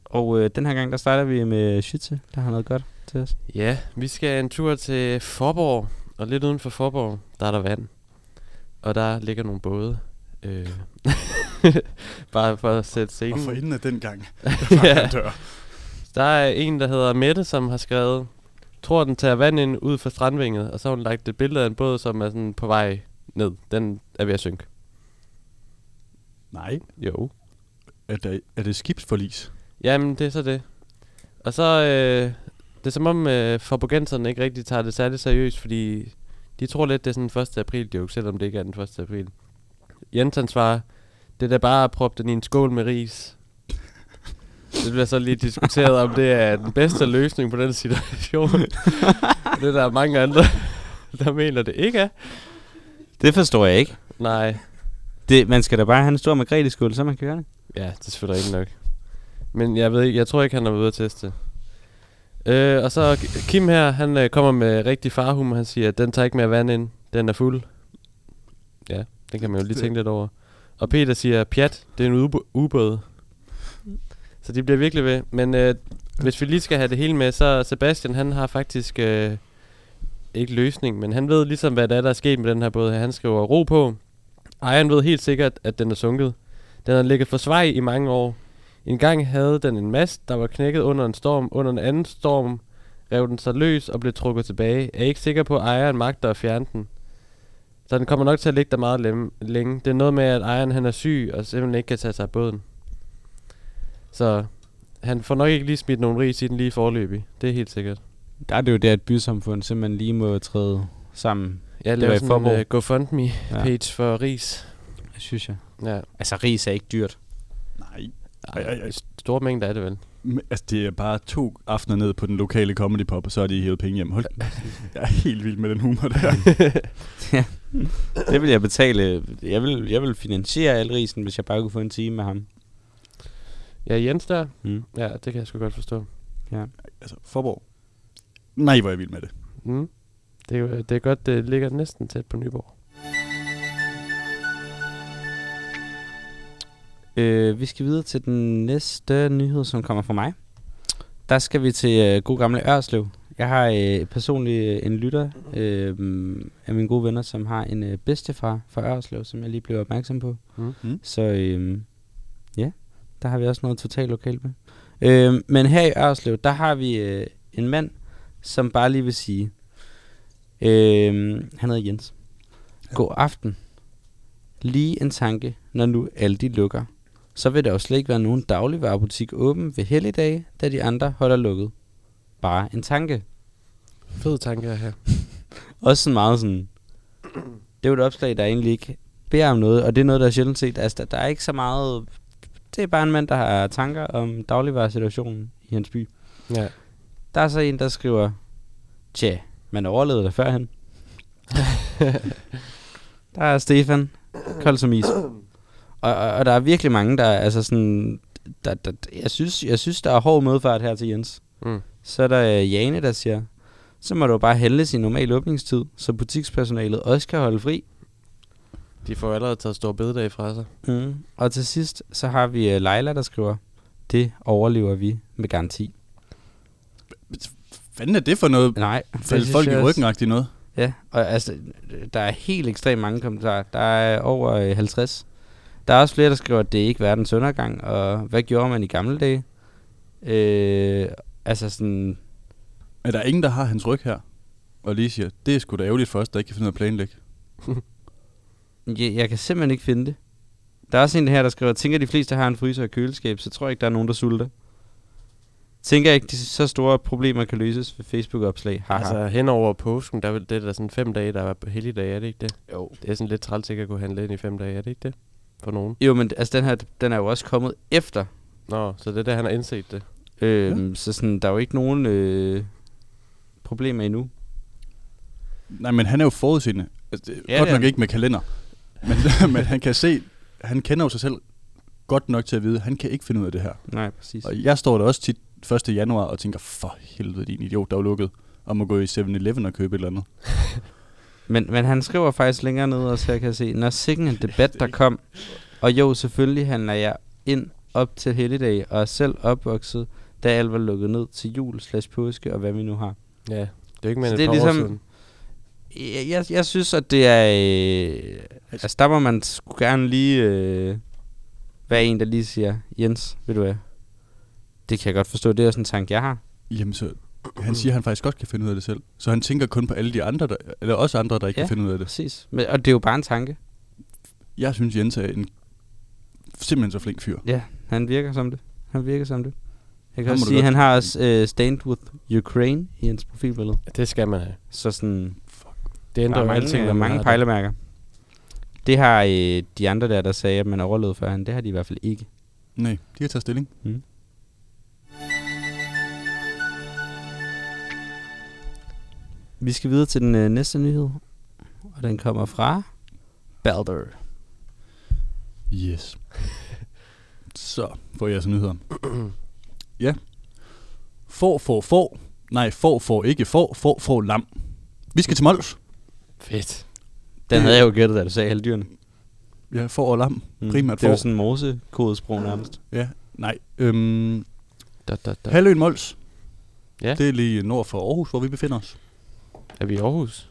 S2: Og øh, den her gang, der starter vi med Schütze, der har noget godt til os.
S3: Ja, vi skal en tur til Forborg, og lidt uden for Forborg, der er der vand. Og der ligger nogle både. Øh. Bare for at sætte
S1: Og
S3: scenen.
S1: for inden af den gang,
S3: Ja.
S1: der var han dør.
S3: Der er en, der hedder Mette, som har skrevet, tror den tager vand ind ud fra strandvinget, og så har hun lagt et billede af en båd, som er sådan på vej ned. Den er ved at synke.
S1: Nej,
S3: Jo.
S1: er det, er det skibsforlis?
S3: Jamen, det er så det. Og så, øh, det er som om øh, forbogenserne ikke rigtig tager det særligt seriøst, fordi de tror lidt, det er sådan den 1. april joke, selvom det ikke er den 1. april. Jens han svarer, det er da bare at proppe den i en skål med ris. Det bliver så lige diskuteret, om det er den bedste løsning på den situation. det er der mange andre, der mener det ikke er.
S2: Det forstår jeg ikke.
S3: Nej,
S2: Det, man skal da bare have en stor magreliskål, så man kan gøre det.
S3: Ja, det er selvfølgelig ikke nok. Men jeg ved ikke, jeg tror ikke, han har været ude at teste. Øh, og så Kim her, han øh, kommer med rigtig farhumor. Han siger, at den tager ikke mere vand ind. Den er fuld. Ja, den kan man jo lige tænke lidt over. Og Peter siger, pjat, det er en ub- ubåd. Så de bliver virkelig ved. Men øh, hvis vi lige skal have det hele med, så Sebastian, han har faktisk øh, ikke løsning, men han ved ligesom, hvad der er, der er sket med den her båd her. Han skriver ro på. Ejeren ved helt sikkert, at den er sunket. Den har ligget for svej i mange år. En gang havde den en mast, der var knækket under en storm. Under en anden storm rev den sig løs og blev trukket tilbage. Er ikke sikker på, at ejeren magter at fjerne den. Så den kommer nok til at ligge der meget lem- længe. Det er noget med, at ejeren han er syg og simpelthen ikke kan tage sig af båden. Så han får nok ikke lige smidt nogen ris i den lige forløbig. Det er helt sikkert.
S2: Der er det jo det, at bysamfund simpelthen lige må træde sammen,
S3: Jeg
S2: var
S3: laver
S2: i
S3: sådan
S2: Faaborg.
S3: en uh, GoFundMe-page
S2: Ja.
S3: for ris.
S2: synes jeg.
S3: Ja,
S2: Altså, ris er ikke dyrt.
S1: Nej.
S3: Ej,
S1: Ej, ej, ej.
S3: store mængder er det vel.
S1: Men, Altså, det er bare to aftener ned på den lokale comedy pop, og så er de hævet penge hjem. Hold, jeg er helt vild med den humor der.
S2: Det vil jeg betale. Jeg vil, jeg vil finansiere al risen, hvis jeg bare kunne få en time med ham.
S3: Ja, Jens der.
S2: Mm.
S3: Ja, det kan jeg sgu godt forstå.
S1: Altså, Forborg. Nej, hvor er jeg vild med det.
S3: Mm. Det, er, jo- det er godt, det ligger næsten tæt på Nyborg.
S2: Øh, vi skal videre til den næste nyhed, som kommer fra mig. Der skal vi til øh, god gamle Ørslev. Jeg har øh, personligt øh, en lytter øh, af mine gode venner, som har en øh, bedstefar fra Ørslev, som jeg lige blev opmærksom på.
S3: Mm.
S1: Mm.
S2: Så øh, ja, der har vi også noget totalt lokalt med. Øh, men her i Ørslev, der har vi øh, en mand, som bare lige vil sige, øh, han hedder Jens. God aften. Lige en tanke, når nu Aldi lukker. Så vil der jo slet ikke være nogen dagligvarerbutik åben ved helligdage, da de andre holder lukket. Bare en tanke.
S3: Fed tanke at have.
S2: Også sådan meget sådan... Det er jo et opslag, der egentlig ikke beder om noget, og det er noget, der er sjældent set. Altså, der, der er ikke så meget... Det er bare en mand, der har tanker om dagligvarersituationen i hans by.
S3: Ja.
S2: Der er så en, der skriver, tja, man overlevede det førhen. der er Stefan, kold som is. Og, og, og, der er virkelig mange, der er altså sådan... Der, der, jeg, synes, jeg synes, der er hård modfart her til Jens.
S3: Mm.
S2: Så er der øh, Jane, der siger, så må du bare handle sin normale åbningstid, så butikspersonalet også kan holde fri.
S3: De får jo allerede taget store bededag fra sig.
S2: Mm. Og til sidst, så har vi øh, Leila, der skriver, det overlever vi med garanti.
S1: Hvad fanden er det for noget?
S2: Nej.
S1: Fælde folk i ryggen noget?
S2: Ja, og altså, der er helt ekstremt mange kommentarer. Der er over øh, 50. Der er også flere, der skriver, at det ikke er verdens undergang, og hvad gjorde man i gamle dage? Øh, altså sådan,
S1: Er der ingen, der har hans ryg her? Og lige siger, det er sgu da ærgerligt for os, der ikke kan finde noget at planlægge.
S2: Jeg, jeg kan simpelthen ikke finde det. Der er også en her, der skriver, tænker de fleste har en fryser og køleskab, så tror jeg ikke, der er nogen, der sulter. Tænker ikke, de så store problemer kan løses ved Facebook-opslag. Haha.
S3: Altså hen over påsken, der er vel- det er der sådan fem dage, der er helligdag, er det ikke det? Jo. Det er sådan lidt træls ikke at kunne handle ind i fem dage, er det ikke det? For nogen.
S2: Jo, men altså, den her, den er jo også kommet efter.
S3: Nå, så det er der, han har indset det.
S2: Øhm, ja. Så sådan, der er jo ikke nogen øh, problemer endnu.
S1: Nej, men han er jo forudseende. Altså, det,
S2: Ja,
S1: ja, godt
S2: det er
S1: nok
S2: han.
S1: ikke med kalender. Men, men han kan se, han kender jo sig selv godt nok til at vide, han kan ikke finde ud af det her.
S2: Nej, præcis.
S1: Og jeg står der også tit 1. januar og tænker, for helvede din idiot, der er jo lukket. Og må gå i 7-Eleven og købe et eller andet.
S2: Men, men han skriver faktisk længere ned også her, kan jeg se. Når sikken en debat, der kom, og jo, selvfølgelig handler jeg ind op til helligdag, og er selv opvokset, da alt var lukket ned til jul, slash påske, og hvad vi nu har.
S3: Ja, det er jo ikke mere
S2: Så
S3: end
S2: det
S3: et
S2: er
S3: par ligesom... år
S2: ligesom-
S3: siden.
S2: Jeg, jeg, jeg synes, at det er... Øh, altså, der må man sgu gerne lige øh, være en, der lige siger, Jens, ved du hvad, det kan jeg godt forstå, det er også en tanke, jeg har.
S1: Jamen så, han siger, at han faktisk godt kan finde ud af det selv. Så han tænker kun på alle de andre, der, eller også andre, der ikke
S2: Ja.
S1: kan finde ud af det.
S2: Præcis. Men, og det er jo bare en tanke.
S1: Jeg synes, Jens er en simpelthen så flink fyr.
S2: Ja, han virker som det. Han virker som det. Jeg kan
S1: Ham må
S2: også
S1: du
S2: sige,
S1: godt-
S2: han har også øh, Stand With Ukraine i hans profilbillede.
S3: Det skal man have.
S2: Så sådan,
S3: Det ændrer
S2: der er
S3: jo
S2: mange,
S3: alting,
S2: øh,
S3: når man
S2: mange
S3: har det.
S2: pejlemærker. Det har øh, de andre der, der sagde, at man overlevede for han. Det har de i hvert fald ikke.
S1: Nej, de har taget stilling.
S2: Vi skal videre til den øh, næste nyhed. Og den kommer fra... Balder.
S1: Yes. så får jeg så nyheder. ja. Får, får, får. Nej, får, får, ikke får. Får, får, lam. Vi skal til Mols.
S3: Fedt.
S2: Den havde jeg jo gættet, da du sagde alle dyrene.
S1: Ja, får og lam.
S2: Mm.
S1: Primært
S2: Det er jo
S1: får.
S2: sådan en morsekodesprog nærmest.
S1: Ja, nej. Øhm,
S3: Da, da, da.
S1: Halvøen Mols.
S3: Ja.
S1: Det er lige nord for Aarhus, hvor vi befinder os.
S3: Er vi i Aarhus?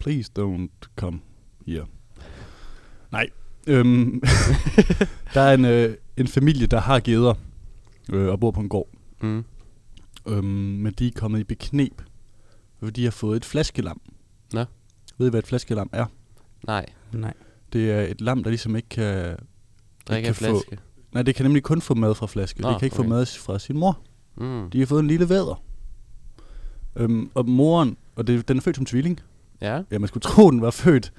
S1: Please don't come here. Nej. Øhm, der er en, øh, en familie, der har geder øh, og bor på en gård.
S3: Mm.
S1: Øhm, men de er kommet i beknep, fordi de har fået et flaskelam.
S3: Nå.
S1: Ved I, hvad et flaskelam er?
S3: Nej,
S2: Nej.
S1: Det er et lam, der ligesom ikke kan... kan
S3: drikker en flaske.
S1: Nej, det kan nemlig kun få mad fra flaske.
S3: Nå,
S1: det kan ikke
S3: okay.
S1: få mad fra sin mor.
S3: Mm.
S1: De har fået en lille væder. Øhm, og moren, og det, den er født som tvilling.
S3: Ja,
S1: Ja, man skulle tro, den var født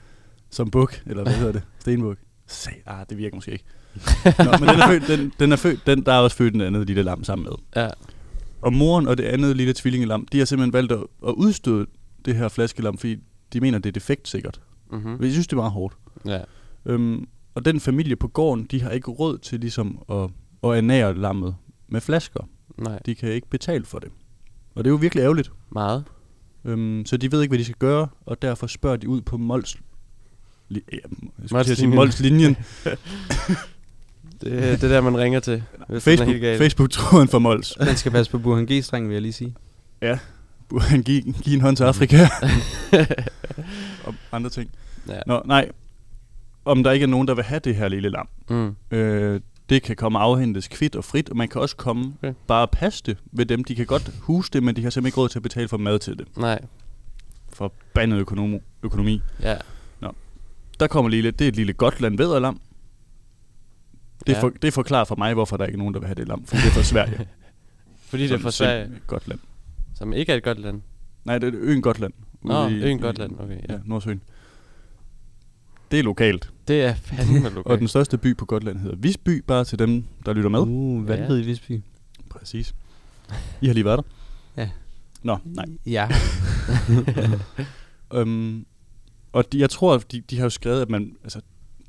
S1: som buk, eller hvad hedder det? Stenbuk. Sag, ah, det virker måske ikke. Nå, men den er født, den, den er født, den, der er også født en andet lille lam sammen med.
S3: ja.
S1: Og moren og det andet lille tvillingelam, de har simpelthen valgt at, at udstøde det her flaskelam, fordi de mener, det er defekt sikkert.
S3: Mm-hmm.
S1: Vi synes, det er meget hårdt.
S3: Ja.
S1: Øhm, og den familie på gården, de har ikke råd til ligesom at, at ernære lammet med flasker.
S3: Nej,
S1: De kan ikke betale for det. Og det er jo virkelig ærgerligt.
S3: meget.
S1: Øhm, så de ved ikke, hvad de skal gøre, og derfor spørger de ud på Mols... Li- ja, jeg skulle til at sige
S3: Molslinjen.
S1: Mols-linjen.
S3: Det, det er der, man ringer til, hvis Facebook, den er
S1: Facebook,
S3: helt galt.
S1: Facebook-tråden for Mols.
S2: Man skal passe på Burhan G-strengen, vil jeg lige sige.
S1: Han giv, giv en hånd til Afrika. og andre ting.
S3: Ja.
S1: Nå, nej. Om der ikke er nogen, der vil have det her lille lam.
S3: Mm.
S1: Øh, det kan komme afhentes kvidt og frit, og man kan også komme
S3: Okay.
S1: okay. bare og passe det ved dem. De kan godt huse det, men de har simpelthen ikke råd til at betale for mad til det.
S3: Nej,
S1: Forbandet økonom- økonomi.
S3: ja.
S1: Der kommer lige lidt. Det er et lille gotland vædderlam. Det,
S3: Ja.
S1: for, det forklarer for mig, hvorfor der ikke er nogen, der vil have det lam. For det er fra Sverige.
S3: Fordi det er
S1: Som
S3: fra
S1: sim-
S3: Sverige,
S1: Gotland.
S3: som ikke er et godt land.
S1: Nej, det er øen Gotland. ude
S3: Nå,
S1: i-
S3: øen
S1: i-
S3: Gotland, okay, ja.
S1: Ja, Nordsøen. Det er lokalt.
S3: Det er fandme
S1: Okay. Og
S3: lokalt.
S1: den største by på Gotland hedder Visby, bare til dem, der lytter med.
S2: Uh,
S3: Ja.
S2: vanvid i Visby.
S1: Præcis. I har lige været der?
S2: Ja.
S1: Nå, nej.
S2: Ja.
S1: Øhm, og de, jeg tror, at de, de har jo skrevet, at man, altså,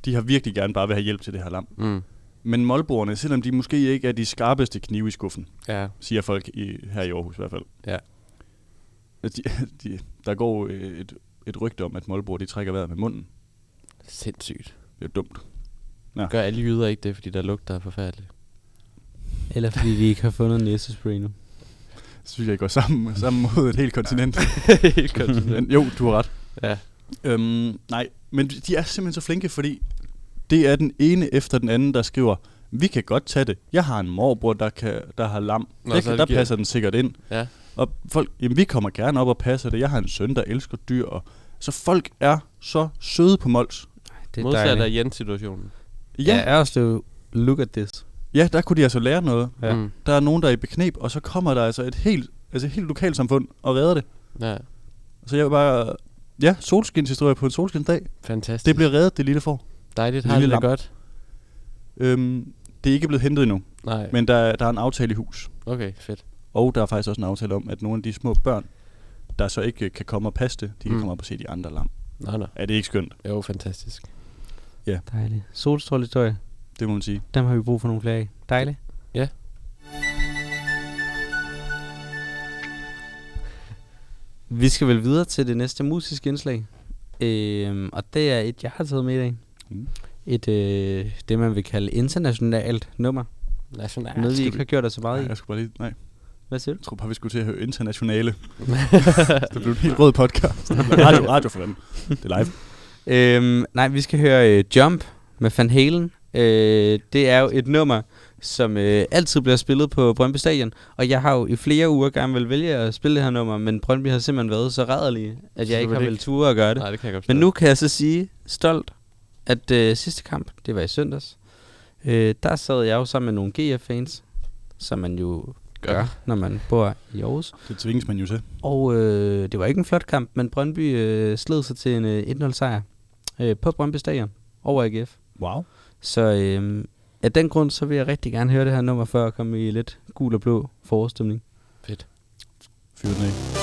S1: de har virkelig gerne bare vil have hjælp til det her lam.
S3: Mm.
S1: Men målborgerne, selvom de måske ikke er de skarpeste knive i skuffen,
S3: Ja,
S1: siger folk i, her i Aarhus i hvert fald.
S3: Ja.
S1: At De, de, der går øh, et, et rygte om, at målbor, de trækker vejret med munden.
S3: sindssygt.
S1: Det er jo dumt.
S3: Gør alle jyder ikke det, fordi der lugter forfærdeligt.
S2: Eller fordi de ikke har fundet næsespray nu.
S1: Så synes jeg, I går sammen, sammen mod et helt kontinent.
S3: Helt godt.
S1: Men jo, du har ret.
S3: Ja.
S1: Øhm, nej, men de er simpelthen så flinke, fordi det er den ene efter den anden, der skriver, vi kan godt tage det. Jeg har en morbror, der, kan, der har lam.
S3: Nå,
S1: Nå, der,
S3: så det
S1: der
S3: giver-
S1: passer den sikkert ind.
S3: Ja.
S1: Og folk, jamen, vi kommer gerne op og passer det. Jeg har en søn, der elsker dyr, og Så folk er så søde på Mols.
S2: Det er
S3: Modsat af
S2: dejligt.
S3: Jens-situationen.
S2: Ja, jeg er også blevet look at this.
S1: ja, der kunne de altså lære noget.
S2: Ja.
S3: Mm.
S1: Der er nogen, der er i beknep, og så kommer der altså et helt, altså et helt lokalsamfund og redder det.
S3: ja.
S1: Så jeg vil bare... Ja, solskinshistorie på en solskinsdag.
S3: Fantastisk.
S1: Det bliver reddet, det lille får.
S3: Dejligt,
S1: Lille
S3: har det det
S1: lam.
S3: godt.
S1: Øhm, det er ikke blevet hentet endnu,
S3: Nej, Men.
S1: men der, er- der er en aftale i hus.
S3: okay, fedt.
S1: Og der er faktisk også en aftale om, at nogle af de små børn, der så ikke øh, kan komme og passe det, de kan
S3: Mm.
S1: komme op og se de andre lam.
S3: Nå, nå.
S1: Er det ikke skønt?
S3: Jo, fantastisk.
S2: Dejligt. Solstrålehistorie.
S1: Det må man sige.
S2: Dem har vi brug for nogle flere af. Dejligt.
S3: Ja.
S2: Vi skal vel videre til det næste musiske indslag. Øhm, og det er et, jeg har taget med i dag.
S1: Mm.
S2: Et, øh, det man vil kalde internationalt nummer.
S3: National.
S2: Noget, vi
S1: skal
S2: ikke
S1: vi-
S2: har gjort os så
S1: Nej,
S2: meget i.
S1: jeg skulle bare lige... Nej,
S2: Hvad siger du?
S1: jeg tror bare, vi skulle til at høre internationale. det blev en helt rød podcast. radio, radio for dem. Det er live.
S2: Øhm, nej, vi skal høre øh, Jump med Van Halen. Øh, det er jo et nummer, som øh, altid bliver spillet på Brøndby Stadion. Og jeg har jo i flere uger gerne vil vælge at spille det her nummer, men Brøndby har simpelthen været så rædderlige, at
S3: Så
S2: jeg
S3: du
S2: ikke
S3: vil
S2: har
S3: ikke-
S2: vel ture at gøre det.
S3: Nej, det kan jeg godt
S2: Men nu kan jeg så sige stolt, at øh, sidste kamp, det var i søndags, øh, der sad jeg jo sammen med nogle GF-fans, som man jo
S3: Gør.
S2: gør, når man bor i Aarhus.
S1: Det tvinges man jo til.
S2: Og øh, det var ikke en flot kamp, men Brøndby øh, sled sig til en øh, 1-0 sejr øh, på Brøndby Stadion over AGF.
S1: Wow.
S2: Så øh, af den grund, så vil jeg rigtig gerne høre det her nummer, for at komme i lidt gul og blå forestemning.
S3: Fedt.
S1: Fyr den af.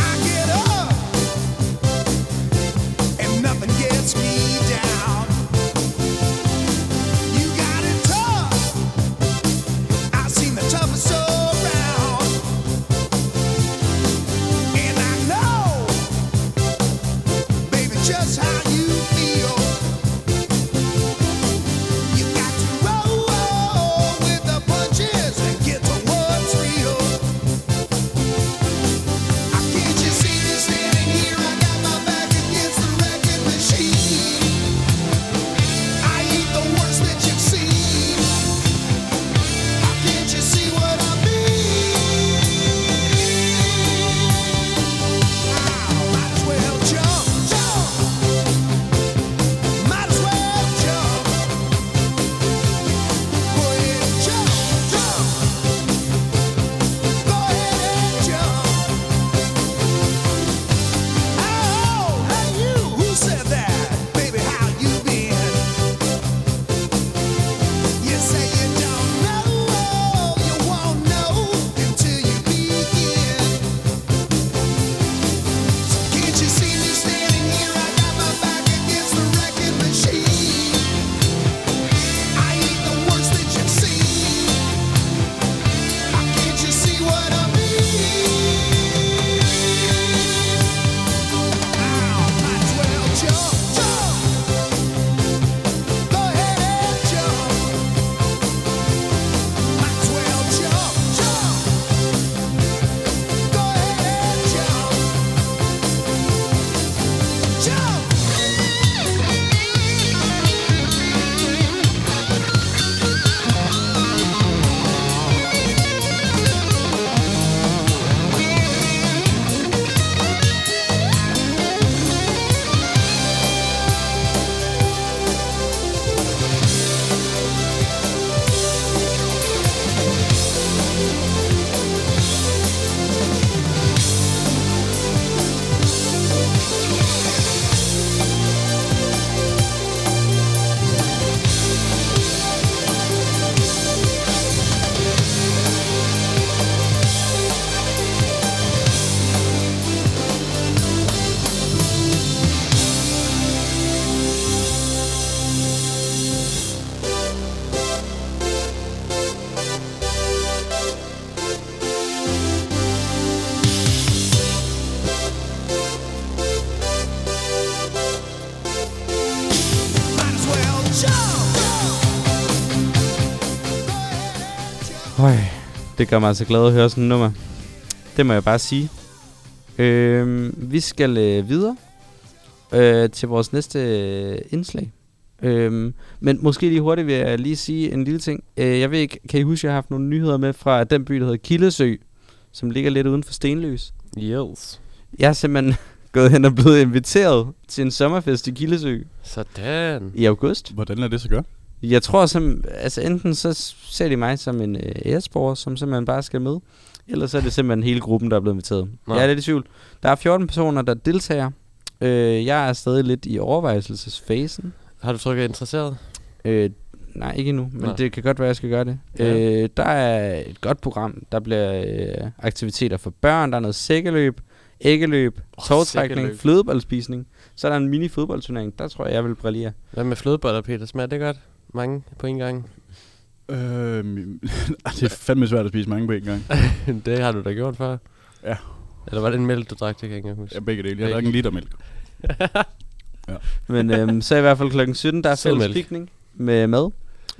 S6: I get up
S2: Høj, det gør mig altså glad at høre sådan en nummer. Det må jeg bare sige. Øh, vi skal øh, videre øh, til vores næste øh, indslag. Øh, men måske lige hurtigt vil jeg lige sige en lille ting. Øh, jeg ved ikke, kan I huske, at jeg har haft nogle nyheder med fra den by, der hedder Kildesø, som ligger lidt uden for Stenløs.
S3: Yes.
S2: Jeg er simpelthen gået hen og blevet inviteret til en sommerfest i Kildesø
S3: Sådan.
S2: i august.
S1: Hvordan er det så gør?
S2: Jeg tror, som, altså enten så ser de mig som en øh, æresborger, som simpelthen bare skal med, eller så er det simpelthen hele gruppen, der er blevet inviteret. Nå.
S3: Nå.
S2: Jeg er lidt i tvivl. Der er 14 personer, der deltager. Øh, jeg er stadig lidt i overvejelsesfasen.
S3: Har du trykket interesseret?
S2: Øh, nej, ikke endnu, men
S3: Nå.
S2: Nå. det kan godt være, at jeg skal gøre det.
S3: Ja.
S2: Ja. Øh, der er et godt program. Der bliver øh, aktiviteter for børn, der er noget sækkeløb, æggeløb,
S3: Åh,
S2: oh, tårtrækning,
S3: sækkeløb.
S2: flødebollspisning. Så er der en mini fodboldturnering. Der tror jeg, jeg vil brillere.
S3: Hvad med flødeboller, Peter? Smager det godt? Mange på en gang.
S1: Øh, det er fandme svært at spise mange på en gang.
S3: det har du da gjort før.
S1: Ja.
S3: Eller var det en mælk, du drak? Det kan jeg ikke engang huske.
S1: Ja, begge dele. Jeg drak en liter mælk.
S2: Men øhm, så i hvert fald klokken 17, der er
S3: Selv
S2: fælles
S3: mælk.
S2: pikning med mad.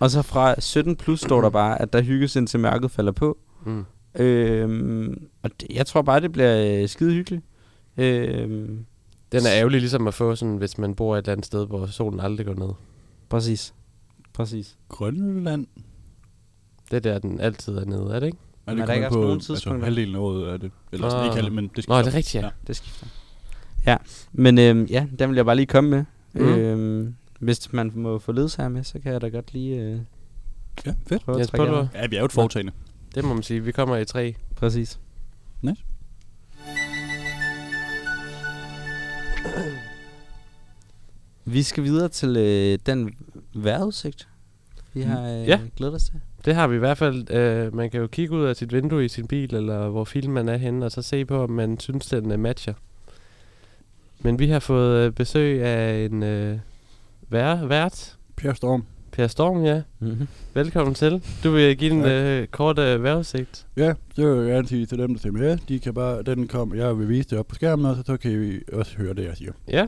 S2: Og så fra 17 plus står der bare, at der hygges indtil mørket falder på.
S3: Mm.
S2: Øhm, og det, jeg tror bare, det bliver øh, skide hyggeligt. Øhm,
S3: Den er ærgerlig ligesom at få sådan, hvis man bor et eller andet sted, hvor solen aldrig går ned.
S2: præcis. Præcis.
S1: Grønland?
S3: Det er der, den altid er nede, er det ikke?
S1: Er
S2: Men er der
S1: kun
S2: ikke også
S1: på,
S2: nogle
S1: Altså,
S2: tidspunkter?
S1: halvdelen af året er det. Eller
S3: Ah.
S1: sådan, ikke alle, men det
S3: Nå,
S1: skal
S3: er det rigtigt, ja.
S1: Ja.
S2: Det skifter. Ja, men øhm, ja, den vil jeg bare lige komme med.
S3: Mm.
S2: Mm. Øhm, hvis man må få ledsager med, så kan jeg da godt lige øh,
S1: Ja, fedt.
S2: prøve
S3: Jeg
S2: at trække
S3: spørger
S2: af.
S3: dig.
S1: Ja, vi er jo et foretagende.
S3: Det må man sige. Vi kommer i tre.
S2: Præcis.
S1: Nice.
S2: Vi skal videre til øh, den vejrudsigt, vi har øh,
S3: Ja.
S2: ja. glædet os til.
S3: Det har vi i hvert fald. Øh, man kan jo kigge ud af sit vindue i sin bil, eller hvor filen man er henne, og så se på, om man synes, den øh, matcher. Men vi har fået øh, besøg af en øh, vær- vært,
S1: Per Storm.
S3: Per Storm, ja.
S2: Mm-hmm.
S3: Velkommen til. Du vil give en
S1: Tak.
S3: øh, kort øh, vejrudsigt.
S1: Ja, det vil jeg gerne sige til dem, der ser med. De kan bare, den kom, jeg vil vise det op på skærmen, og så, så kan I også høre det, jeg siger.
S3: Ja.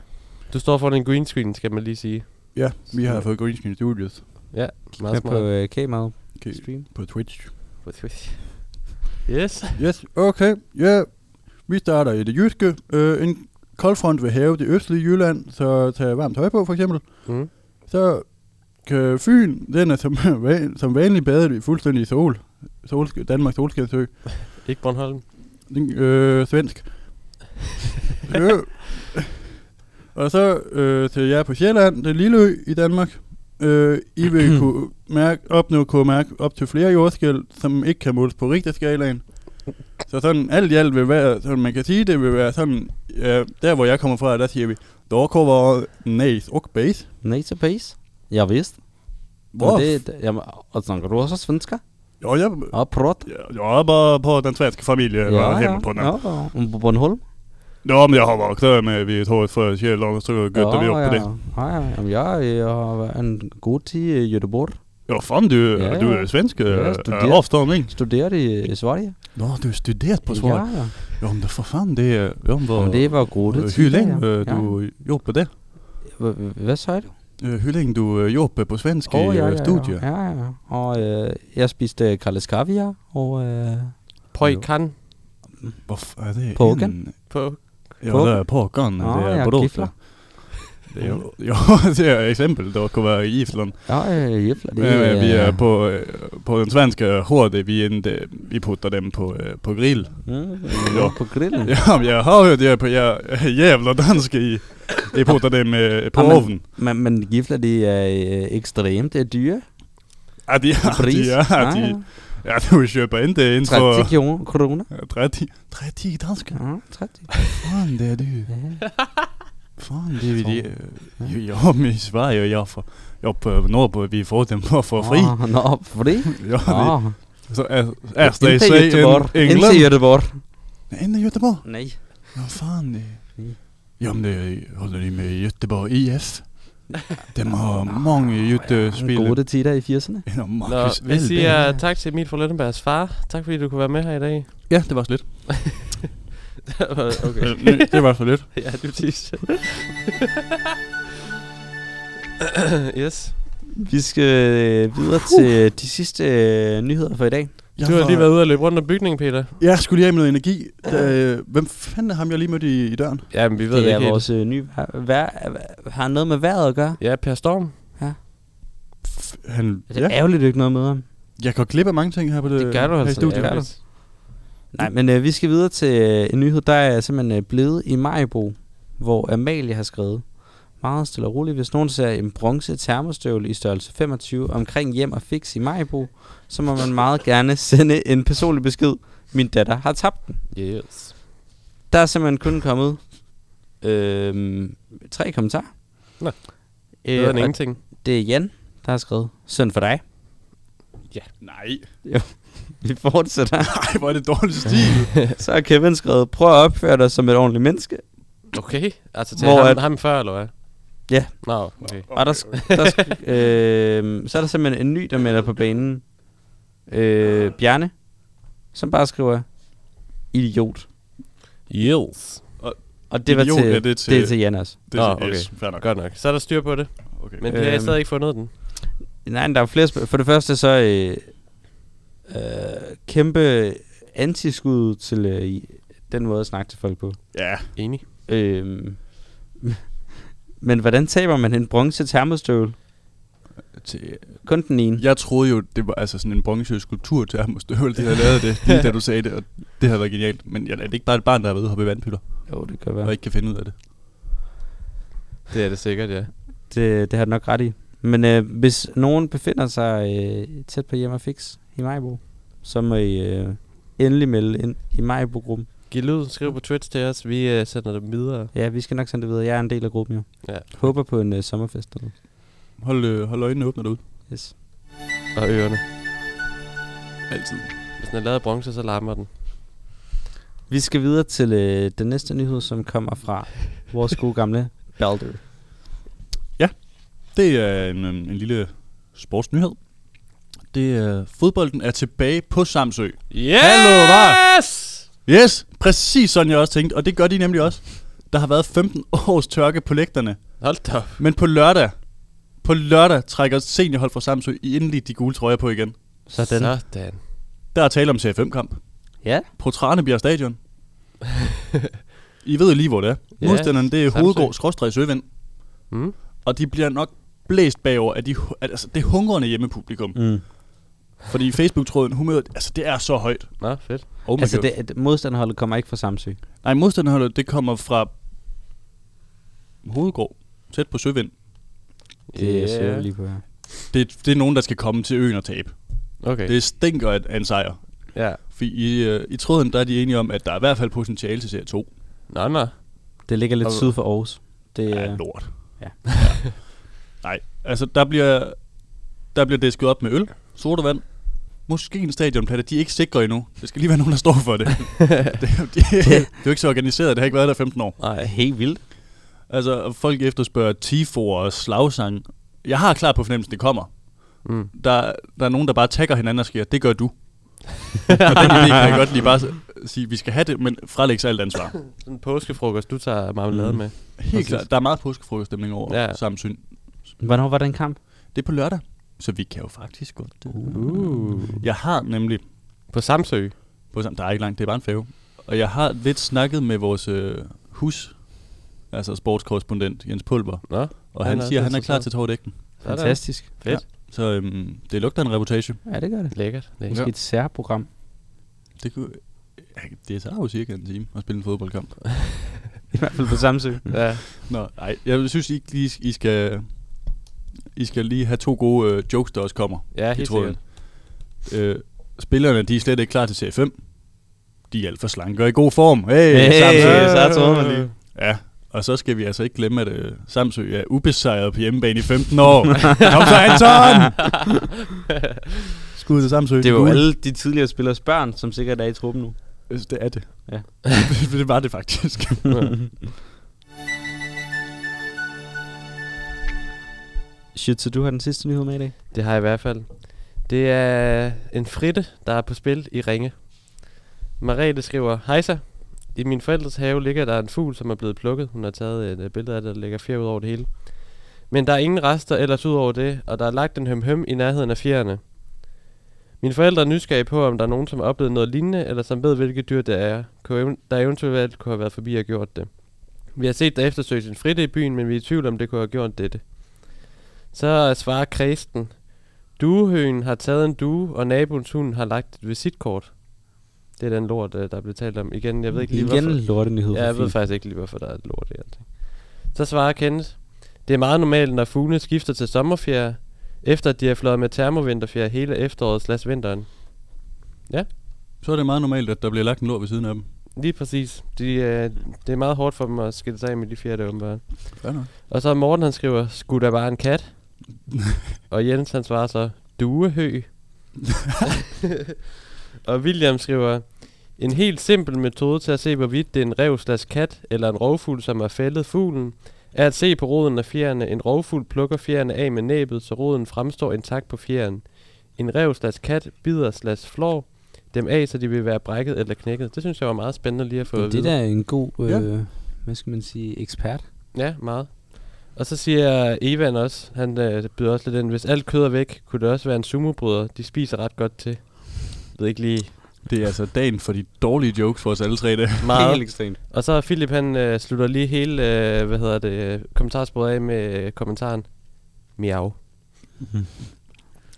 S3: Du står foran en green screen, skal man lige sige.
S1: Ja, vi har fået Green Screen Studios
S3: Ja, meget
S2: Med på
S3: smart.
S2: øh, Kameraet
S1: okay,
S2: stream.
S1: på Twitch.
S3: På Twitch. Yes.
S1: Yes, okay, ja. Yeah. Vi starter i det jyske. Uh, en koldfront vil have det østlige Jylland, så tag varmt tøj på for eksempel.
S3: Mm.
S1: Så kan Fyn, den er som, van- som vanligt badet i fuldstændig sol. Solsk- Danmarks solskinsø.
S3: Ikke Bornholm.
S1: Den, øh, svensk. øh. Og så øh, til jer på Sjælland, det lille ø i Danmark. Øh, I vil kunne mærke, opnå kunne mærke op til flere jordskæl, som ikke kan måles på Richterskalaen. Så sådan alt i alt vil være, sådan man kan sige, det vil være sådan, ja, der hvor jeg kommer fra, der siger vi, der var næs og base.
S2: Nature Base. Ja, visst.
S1: Hvor?
S2: Og det, det, jamen, og snakker du også svenska?
S1: Ja, jeg,
S2: Ja, prat.
S1: jag är bara på den svenska familjen ja, hemma på den. Ja.
S2: Ja, ja. Om på Bornholm?
S1: men jag har också med vid ett hår för Kjell så gött ja, vi upp på det.
S2: ja. Ja, ja. Jamen, jeg, jeg har været en god tid i Göteborg.
S1: Ja, fan du,
S2: Ja,
S1: du
S2: ja.
S1: är svensk eh,
S2: Ja,
S1: ja,
S2: studerat.
S1: avstamning.
S2: Studerede i, i Sverige.
S1: Ja, du har studerat på
S2: ja,
S1: Sverige.
S2: ja.
S1: Ja. men det for fan det är... Ja, men
S2: Jamen,
S1: vad,
S2: det var gode
S1: hur
S2: tider,
S1: länge
S2: ja.
S1: eh, du jobbade?
S2: Hva- hva- Hvad sagde du?
S1: Eh, Hur länge du eh, jobbade på svenska i ja, studier?
S2: Ja, ja, ja. Og øh, jeg spiste Karles Kaviar og... Øh,
S3: Pøj kan.
S1: Vad fan är det?
S2: Pågen?
S1: En-
S3: På.
S1: Ja,
S2: Pågen?
S1: det är pågen. Det
S2: Ja,
S1: är
S2: ja,
S1: bråte.
S2: gifflar.
S1: Det är- Ja, det är exempel då, kommer i Island.
S2: ja, øh, jæfler.
S1: Det, øh, vi er på, øh, på den svenske hårde, vi, inte, vi putter dem på, øh, på grill.
S2: Mm,
S1: Ja.
S2: ja. På grillen. Ja.
S1: Ja, men jag har hört det på jag, jävla dansk i, i putter dem eh, på
S2: Ja, men-
S1: ovnen.
S2: Men, men gifler, de er øh, ekstremt dyre.
S1: Ja, det är
S2: Pris.
S1: det. Ja,
S2: ja,
S1: det ja, du köper inte ens för
S2: 30 kroner. kroner.
S1: Ja, 30, 30 danska.
S2: Ja, 30.
S1: Fan det är du.
S2: Ja.
S1: Fan det är det.
S2: Ja.
S1: Ja, Jag men i Sverige och jag får, jag på Norrbo, vi får dem bara för fri.
S2: Ah, Nå, fri?
S1: Ja,
S2: Ah.
S1: det, så är- är det i
S2: Inte
S1: sig
S2: Göteborg.
S1: en-
S2: Inte
S1: England.
S2: Göteborg.
S1: Nej, inte Göteborg.
S2: Nej.
S1: Ja, fan det.
S2: Mm.
S1: Ja, men det håller ni med Göteborg IF. De har många jutespillere.
S2: Gode tider i 80'erne.
S1: Ja,
S3: Nå,
S1: Marcus
S3: vi
S1: Elbæk.
S3: siger tak til Emil fra Lønnebergs far. Tak fordi du kunne være med her i dag.
S1: Ja, det var så lidt.
S3: okay.
S1: det var så lidt.
S3: ja, du tis. yes.
S2: Vi skal øh, videre til de sidste øh, nyheder for i dag.
S1: Jeg
S3: Du har
S1: får-
S3: lige været ude og løbe rundt om bygningen, Peter.
S1: Jeg skulle lige have noget energi. Da, øh, hvem fanden er ham, jeg lige mødte i, i døren?
S3: Ja, men vi ved det,
S2: Det
S3: det
S2: er
S3: ikke vores...
S2: vores øh, nye... Har, vær, har noget med vejret at gøre?
S3: helt. Ja, Per Storm.
S1: F- Han,
S2: Altså, Det er
S1: ja.
S2: ærgerligt, du ikke noget med ham.
S1: Jeg går glip af mange ting her på det,
S3: Det gør du
S1: her i
S3: altså.
S1: studiet.
S3: ja,
S2: Gør du? Nej, men øh, vi skal videre til øh, en nyhed, der er simpelthen øh, blevet i Majbo, hvor Amalie har skrevet, meget stille og roligt, hvis nogen ser en bronze termostøvle i størrelse 25 omkring hjem og fix i Majbo, så må man meget gerne sende en personlig besked. Min datter har tabt den.
S3: Yes.
S2: Der er simpelthen kun kommet øh, tre kommentarer.
S3: Nå.
S2: Øh,
S3: Bedre
S2: og
S3: end ingenting.
S2: det er Jan, der har skrevet, søn for dig.
S1: Nej,
S2: Vi fortsætter.
S1: nej, hvor er det dårligt stil.
S2: Så har Kevin skrevet, prøv at opføre dig som et ordentligt menneske.
S3: Okay, altså til
S2: Hvor
S3: ham,
S2: at-
S3: ham før, eller hvad?
S2: Ja.
S3: Nå, okay.
S2: Og der, sk- der sk- øh, så er der simpelthen en ny, der melder på banen. Øh, Bjarne, som bare skriver, idiot.
S3: Yes.
S2: Og det var
S1: Idiot,
S2: til,
S1: ja,
S2: det er til, det er til Janas.
S1: Det
S3: Nå,
S1: er
S3: okay.
S1: okay. yes, fair nok.
S3: Godt nok. Så er der styr på det.
S1: Okay.
S3: Men Peter, jeg har
S2: Øhm.
S3: stadig ikke fundet den.
S2: Nej, men der er flere spørg- For det første så øh, øh, kæmpe antiskud til øh, i- den måde at snakke til folk på.
S1: Ja,
S3: Enig.
S2: Øh, men hvordan taber man en bronze termostøvle?
S1: til,
S2: Kun den ene.
S1: jeg troede jo, det var altså sådan en bronze skulptur til Amos Døvel, de havde lavet det, lige da du sagde det, og det havde været genialt. Men ja, det er ikke bare et barn, der har været ude og hoppe i vandpytter,
S2: Jo, det kan være.
S1: og ikke kan finde ud af det.
S3: Det er det sikkert, ja.
S2: Det, det har du nok ret i. Men øh, hvis nogen befinder sig øh, tæt på Hjem og Fix i Majbo, så må I øh, endelig melde ind i Majbo-gruppen.
S3: Giv lyd, skriv på Twitch til os. Vi uh, sender dem videre.
S2: Ja, vi skal nok sende det videre. Jeg er en del af gruppen jo.
S3: Ja.
S2: Håber på en øh, sommerfest eller noget.
S1: Hold, øh, hold øjnene åbne derude.
S2: yes.
S3: Og ørerne.
S1: Altid.
S3: Hvis den er lavet af bronze, så larmer den.
S2: Vi skal videre til øh, den næste nyhed, som kommer fra vores gode gamle Balder.
S1: Det er en, øhm, en lille sportsnyhed. Det er, fodbolden er tilbage på Samsø.
S3: Yes!
S1: Hallo, hva'? Yes, præcis sådan jeg også tænkte, og det gør de nemlig også. Der har været 15 års tørke på lægterne,
S3: Hold da op.
S1: men på lørdag, på lørdag trækker seniorhold fra Samsø endelig de gule trøjer på igen.
S2: Sådan. Så.
S3: Sådan.
S1: Der er tale om CFM-kamp.
S2: Ja.
S1: På Tranebjerg Stadion. I ved lige, hvor det er.
S3: Ja,
S1: Modstanderen, det er
S3: Samsø.
S1: Hovedgård, Skråstrej, Søvind.
S3: Mm.
S1: Og de bliver nok blæst bagover af de, hu- at- altså, det hungrende hjemmepublikum.
S2: Mm.
S1: Fordi Facebook-tråden, humøret, altså det er så højt.
S3: Nå, fedt.
S1: Oh my
S2: Altså,
S1: God.
S2: det, at modstanderholdet kommer ikke fra Samsø.
S1: Nej, modstanderholdet, det kommer fra Hovedgård, tæt på Søvind.
S2: Det yeah. ser jeg lige på her.
S1: Det, det er nogen, der skal komme til øen og tabe.
S3: Okay.
S1: Det stinker af- af en sejr.
S3: Ja.
S1: For i, øh, i tråden, der er de enige om, at der er i hvert fald potentiale til serie 2.
S3: Nå, nå.
S2: Det ligger lidt
S1: Og-
S2: syd for Aarhus. Det øh,
S1: Ja,
S2: er
S1: lort.
S2: Ja.
S1: Nej, altså der bliver, der bliver disket op med øl, sodavand, måske en stadionplatte. De er ikke sikre endnu. Det skal lige være nogen, der står for det. det, er jo- de, det er jo ikke så organiseret, det har ikke været der i 15 år.
S2: ja. helt vildt.
S1: Altså, og folk efterspørger tifoer og slagsang. Jeg har klart på fornemmelsen, det kommer.
S3: Mm.
S1: Der, der er nogen, der bare tagger hinanden og siger, det gør du. og den idé kan jeg godt lige bare s- sige, vi skal have det, men frelægge alt ansvar.
S3: Sådan en påskefrokost, du tager marmelade
S2: Mm.
S3: mm. med.
S1: Helt klart. Der er meget påskefrokoststemning over ja.
S3: Ja.
S1: samsyn.
S2: Hvornår var den kamp?
S1: Det er på lørdag, så vi kan jo faktisk godt det.
S3: Uh.
S1: Jeg har nemlig,
S3: På Samsø.
S1: på samt, der er ikke langt, det er bare en fave, og jeg har lidt snakket med vores øh, hus, altså sportskorrespondent Jens Pulver,
S3: Nå,
S1: og
S3: Han
S1: han,
S3: er
S1: han siger, at
S3: også
S1: han er klar
S3: interesseret.
S1: til tårdækken.
S3: sådan.
S2: Fantastisk.
S1: Så øhm, det lugter af en reportage.
S2: Ja, det gør det.
S3: Lækkert.
S2: Måske
S3: Lækkert.
S2: ja. et særprogram.
S1: Det, kunne, ja, det tager jo cirka en time at spille en fodboldkamp.
S2: I hvert fald på Samsø.
S3: Ja.
S1: Nå, nej, jeg synes ikke lige, I skal, I skal lige have to gode øh, jokes, der også kommer.
S3: Ja,
S1: i
S3: helt
S1: tråden.
S3: sikkert.
S1: Øh, spillerne, de er slet ikke klar til serie 5. De er alt for slanke og i god form. Hey,
S2: Hey,
S1: Samsø.
S2: så er troede man lige.
S1: Ja, og så skal vi altså ikke glemme, at øh, Samsø er ubesejret på hjemmebane i 15 år. Kom så, Anton! Skud til Samsø.
S2: Det var jo
S1: Gul.
S2: alle de tidligere spillers børn, som sikkert er i truppen nu.
S1: Øh, Det er det.
S2: Ja.
S1: det var det faktisk.
S2: Shit, så du har den sidste nyhed med i dag?
S3: Det har jeg i hvert fald. Det er en fritte, der er på spil i Ringe. Marete skriver, Hejsa, i min forældres have ligger der en fugl, som er blevet plukket. Hun har taget et øh, billede af det, der ligger fjer ud over det hele. Men der er ingen rester ellers ud over det, og der er lagt en høm-høm i nærheden af fjerne. Mine forældre er nysgerrige på, om der er nogen, som har oplevet noget lignende, eller som ved, hvilke dyr det er, kunne even- der eventuelt kunne have været forbi og gjort det. Vi har set, der eftersøges en fridag i byen, men vi er i tvivl om, det kunne have gjort dette. Så svarer Kristen. Duehøen har taget en due, og naboens hund har lagt et visitkort. Det er den lort, øh, der blev talt om. Igen, jeg ved ikke lige,
S2: Igen
S3: hvorfor.
S2: lortenyhed.
S3: Ja, jeg ved
S2: faktisk.
S3: faktisk ikke lige, hvorfor der er et lort i alting. Så svarer Kenneth. Det er meget normalt, når fuglene skifter til sommerferie, efter at de har fløjet med termovinterferie hele efteråret slash vinteren.
S1: Så er det meget normalt, at der bliver lagt en lort ved siden af dem.
S3: Lige præcis. De, øh, det er meget hårdt for dem at skille sig af med de fjerde åbenbart.
S1: Fair nok.
S3: Og så Morten han skriver, skulle der bare en kat? og Jens han svarer så, duehø. og William skriver, en helt simpel metode til at se, hvorvidt det er en rev slash kat eller en rovfugl, som har fældet fuglen, er at se på roden af fjerne. En rovfugl plukker fjerne af med næbet, så roden fremstår intakt på fjeren. En rev slash kat bider slash flår dem af, så de vil være brækket eller knækket. Det synes jeg var meget spændende lige at få at
S2: Det
S3: vide.
S2: der er en god, øh,
S1: Ja.
S2: ja. hvad skal man sige, ekspert.
S3: Ja, meget. Og så siger Evan også, han øh, byder også lidt ind, hvis alt kød er væk, kunne det også være en sumobryder. De spiser ret godt til. Jeg ved ikke lige
S1: Det er altså dagen for de dårlige jokes for os alle tre i dag.
S3: meget.
S2: ekstremt.
S3: Og så Philip, han øh, slutter lige hele, øh, hvad hedder det, øh, kommentarsporet af med øh, kommentaren. Miau.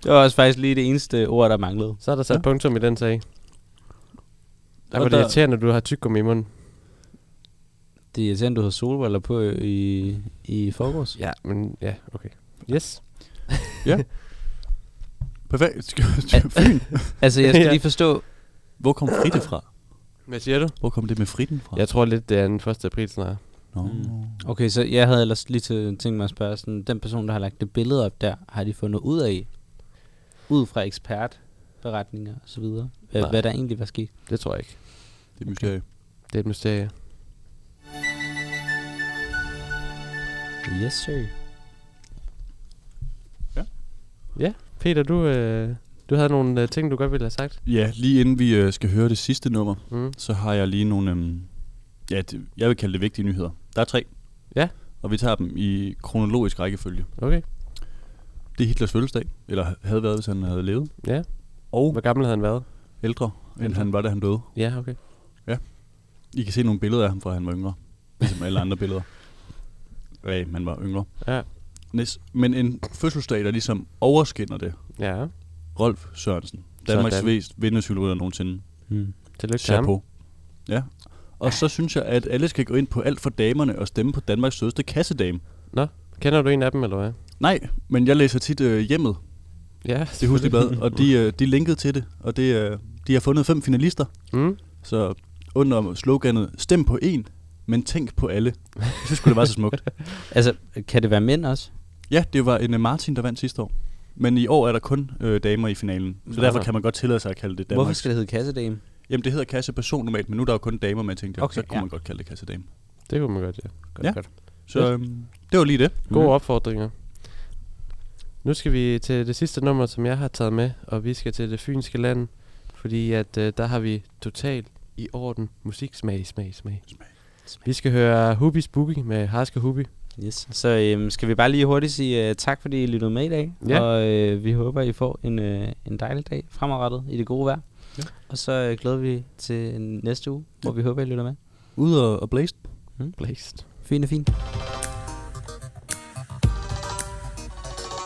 S2: Det var også faktisk lige det eneste ord, der manglede.
S3: Så er der sat ja.
S1: Ja.
S3: punktum i den sag. Der
S1: Og
S3: var det
S1: der-
S3: irriterende, at du har tyggegummi i munden.
S2: Det er irriterende, du havde solbriller på øh, i, i forgårs.
S3: Ja, men ja, okay. Yes.
S1: Perfekt. Fyn.
S2: Altså, jeg skal
S3: Ja.
S2: lige forstå,
S1: Hvor kom fritte fra?
S3: Hvad siger du?
S1: Hvor kom det med fritten fra?
S3: Jeg tror lidt, det er den 1. april snart.
S1: Nå.
S2: Mm. Okay, så jeg havde ellers lige til, tænkt mig at spørge sådan, den person, der har lagt det billede op der, har de fundet ud af, ud fra ekspertberetninger og så videre, hvad,
S3: Nej.
S2: hvad der egentlig var sket?
S3: Det tror jeg ikke.
S1: Det er mysterie.
S3: Det er et mysterie.
S2: Yes, sir.
S3: Peter, du, øh, du havde nogle øh, ting, du godt ville have sagt.
S1: Ja, lige inden vi øh, skal høre det sidste nummer,
S3: Mm.
S1: så har jeg lige nogle, øhm, ja, det- jeg vil kalde det vigtige nyheder. Der er tre.
S3: Ja.
S1: Og vi tager dem i kronologisk rækkefølge.
S3: Okay.
S1: Det er Hitlers fødselsdag, eller havde været, hvis han havde levet.
S3: Ja.
S1: Og
S3: Hvor gammel havde han været?
S1: ældre, end
S3: Ældre.
S1: han var, da han døde.
S3: Ja, okay.
S1: I kan se nogle billeder af ham, fra han var yngre. Ligesom alle andre billeder. Ja, man var yngre.
S3: Ja.
S1: Næs, men en fødselsdag, der ligesom overskinner det.
S3: Ja.
S1: Rolf Sørensen. Danmarks
S3: Sådan.
S1: mest vindercykler nogensinde.
S2: Hmm.
S3: Tillykke til ham.
S1: Chapeau. Ja. Og så synes jeg, at alle skal gå ind på alt for damerne og stemme på Danmarks sødeste kassedame.
S3: Kender du en af dem, eller hvad?
S1: Nej, men jeg læser tit øh, hjemmet,
S3: Ja.
S1: det huslige blad, og de, øh, de linkede til det, og det, øh, de har fundet fem finalister.
S3: Mm.
S1: Så under sloganet, stem på en, men tænk på alle. Jeg synes sgu, det var så smukt.
S2: Altså, kan det være mænd også?
S1: Ja, det var en øh, Martin, der vandt sidste år. Men i år er der kun øh, damer i finalen, så
S3: Nå,
S1: derfor
S3: nå.
S1: kan man godt tillade sig at kalde det
S2: Hvorfor
S1: Danmarks.
S2: skal det hedde kassedame?
S1: Jamen, det hedder kasseperson normalt, men nu er der jo kun damer med, tænkte jeg.
S2: Okay,
S1: så kunne
S2: ja.
S1: man godt kalde det kassedame.
S3: Det kunne man godt, ja. Godt,
S1: Ja. Mm.
S3: godt.
S1: Så øhm, det var lige det.
S3: Gode opfordringer. Nu skal vi til det sidste nummer, som jeg har taget med, og vi skal til det fynske land, fordi at øh, der har vi totalt i orden musik, smag, smag, smag.
S1: Smag.
S3: Vi skal høre Hubis Boogie med Harske Hubi.
S2: Yes. Så øhm, skal vi bare lige hurtigt sige øh, tak, fordi I lyttede med i dag.
S3: Ja.
S2: Og øh, vi håber, I får en, øh, en dejlig dag fremadrettet i det gode vejr. Ja. Og så øh, glæder vi til næste uge, hvor vi håber, I lytter med. Hmm?
S1: Ud og, og blæse
S3: Blæst.
S2: Fint og fint.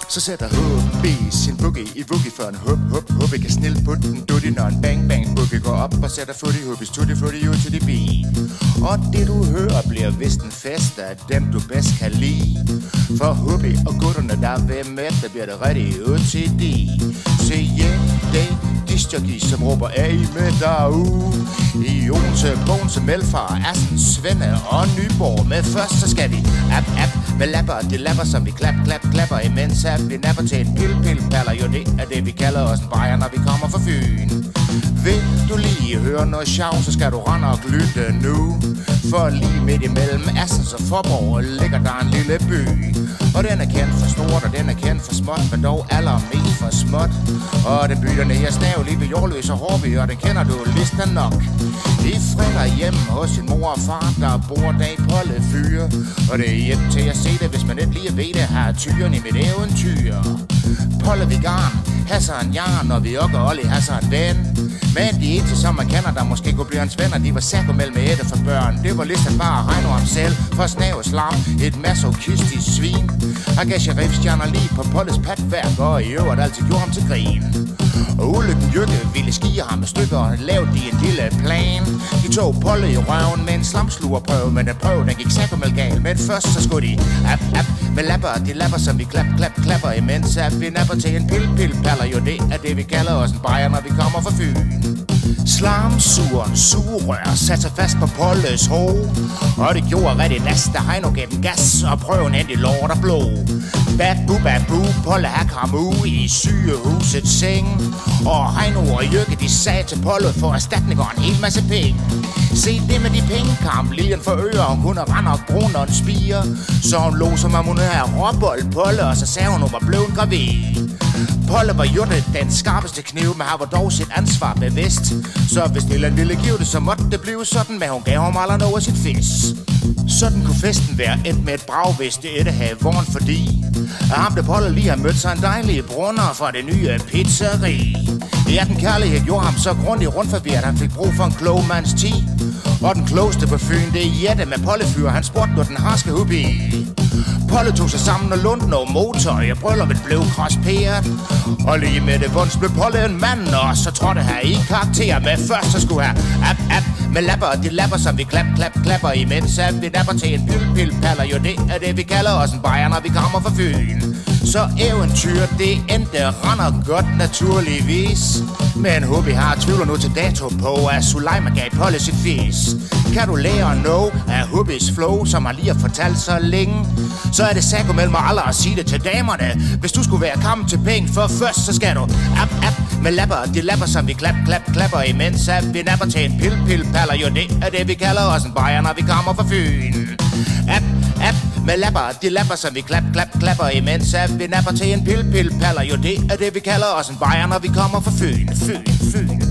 S7: Så sætter HB sin boogie i vugge for en hub, hub, hub. Vi kan snille på den dutti, når en bang, bang boogie går op og sætter fut i hubis tutti, futti, ud til de bi. Og det du hører bliver vist en fest af dem, du bedst kan lide. For HB og gutterne, der er ved med, der bliver det rigtig ud til de. Se yeah, det disjockey, som råber af I med derude. I Odense, Bogense, Melfar, Assen, Svende og Nyborg. Men først så skal vi app, app med lapper. Det lapper, som vi klap, klap, klapper. Imens app, vi napper til en pil, pil, paller. Jo, det er det, vi kalder os en bajer, når vi kommer fra Fyn. Vil du lige høre noget sjov, så skal du rende og lytte nu. For lige midt imellem Assens og Forborg ligger der en lille by. Og den er kendt for stort, og den er kendt for småt, men dog allermest for småt. Og den bytterne her snav lige ved Jorløs og Hårby, og den kender du listen nok. I fredag hjemme hos sin mor og far, der bor dag på fyre. Og det er hjem til at se det, hvis man ikke lige ved det, har tyren i mit eventyr. Polle Vegan, Hassan, Jan og vi og Olli Hassan den. Men de eneste, som man kender, der måske kunne blive hans venner, de var Sako mellem ætte for børn. Det var ligesom bare Heino ham selv, for snav og slam, et masochistisk svin. Han gav sheriffstjerner lige på Polles patværk, og i øvrigt altid gjorde ham til grin. Og ulykken Jykke ville skige ham i stykker, og lavede de en lille plan. De tog Polle i røven med en slamslugerprøve, men den prøve, den gik Sakomel gal. Men først så skulle de ap, ap, med lapper, de lapper, som vi klap, klap, klapper, imens at vi napper til en pil, pil, paller. Jo, det er det, vi kalder os en bajer, når vi kommer fra Fyn. Slamsuren sugerør satte sig fast på Polles ho Og det gjorde rigtig last, da Heino gav den gas Og prøven endte i lort og blå Babu babu, Polle her kom ud i sygehusets seng Og Heino og Jøkke de sagde til Polle for erstatning og en hel masse penge Se det med de penge kom Lillian for øer Hun kunne rende og brun og en spire Så hun lå som om hun havde råbold Polle Og så sagde hun hun var blevet gravid Polle var jurte den skarpeste kniv, men har var dog sit ansvar bevidst. Så hvis Dylan ville give det, så måtte det blive sådan, men hun gav ham alderen over sit fis. Sådan kunne festen være et med et brag, hvis det et havde vorn, fordi at ham det Polle lige har mødt sig en dejlig brunner fra det nye pizzeri. Ja, den kærlighed gjorde ham så grundigt rundt forbi, at han fik brug for en klog mands ti. Og den klogeste på Fyn, det er Jette med Pollefyr, han spurgte, når den harske hubi. Polly tog sig sammen og lånte noget motor Jeg brylluppet blev crosspæret Og lige med det vunds blev Polly en mand Og så trådte her i karakter med Først så skulle her app app med lapper Og de lapper som vi klap klap klapper Imens at vi napper til en pil pil paller Jo det er det vi kalder os en bajer når vi kommer fra Fyn Så eventyr det endte render godt naturligvis Men håber har tvivler nu til dato på At Suleima gav Polly sit fis Kan du lære at know af Hubbis flow Som har lige har fortalt så længe så er det sako mellem mig aldrig at sige det til damerne Hvis du skulle være kommet til penge for først, så skal du App, app med lapper, de lapper som vi klap, klap, klapper Imens at vi napper til en pil, pil, paller Jo, det er det vi kalder os en bajer, når vi kommer fra Fyn App, app med lapper, de lapper som vi klap, klap, klapper Imens at vi napper til en pil, pil, paller Jo, det er det vi kalder os en bajer, når vi kommer fra Fyn Fyn, Fyn,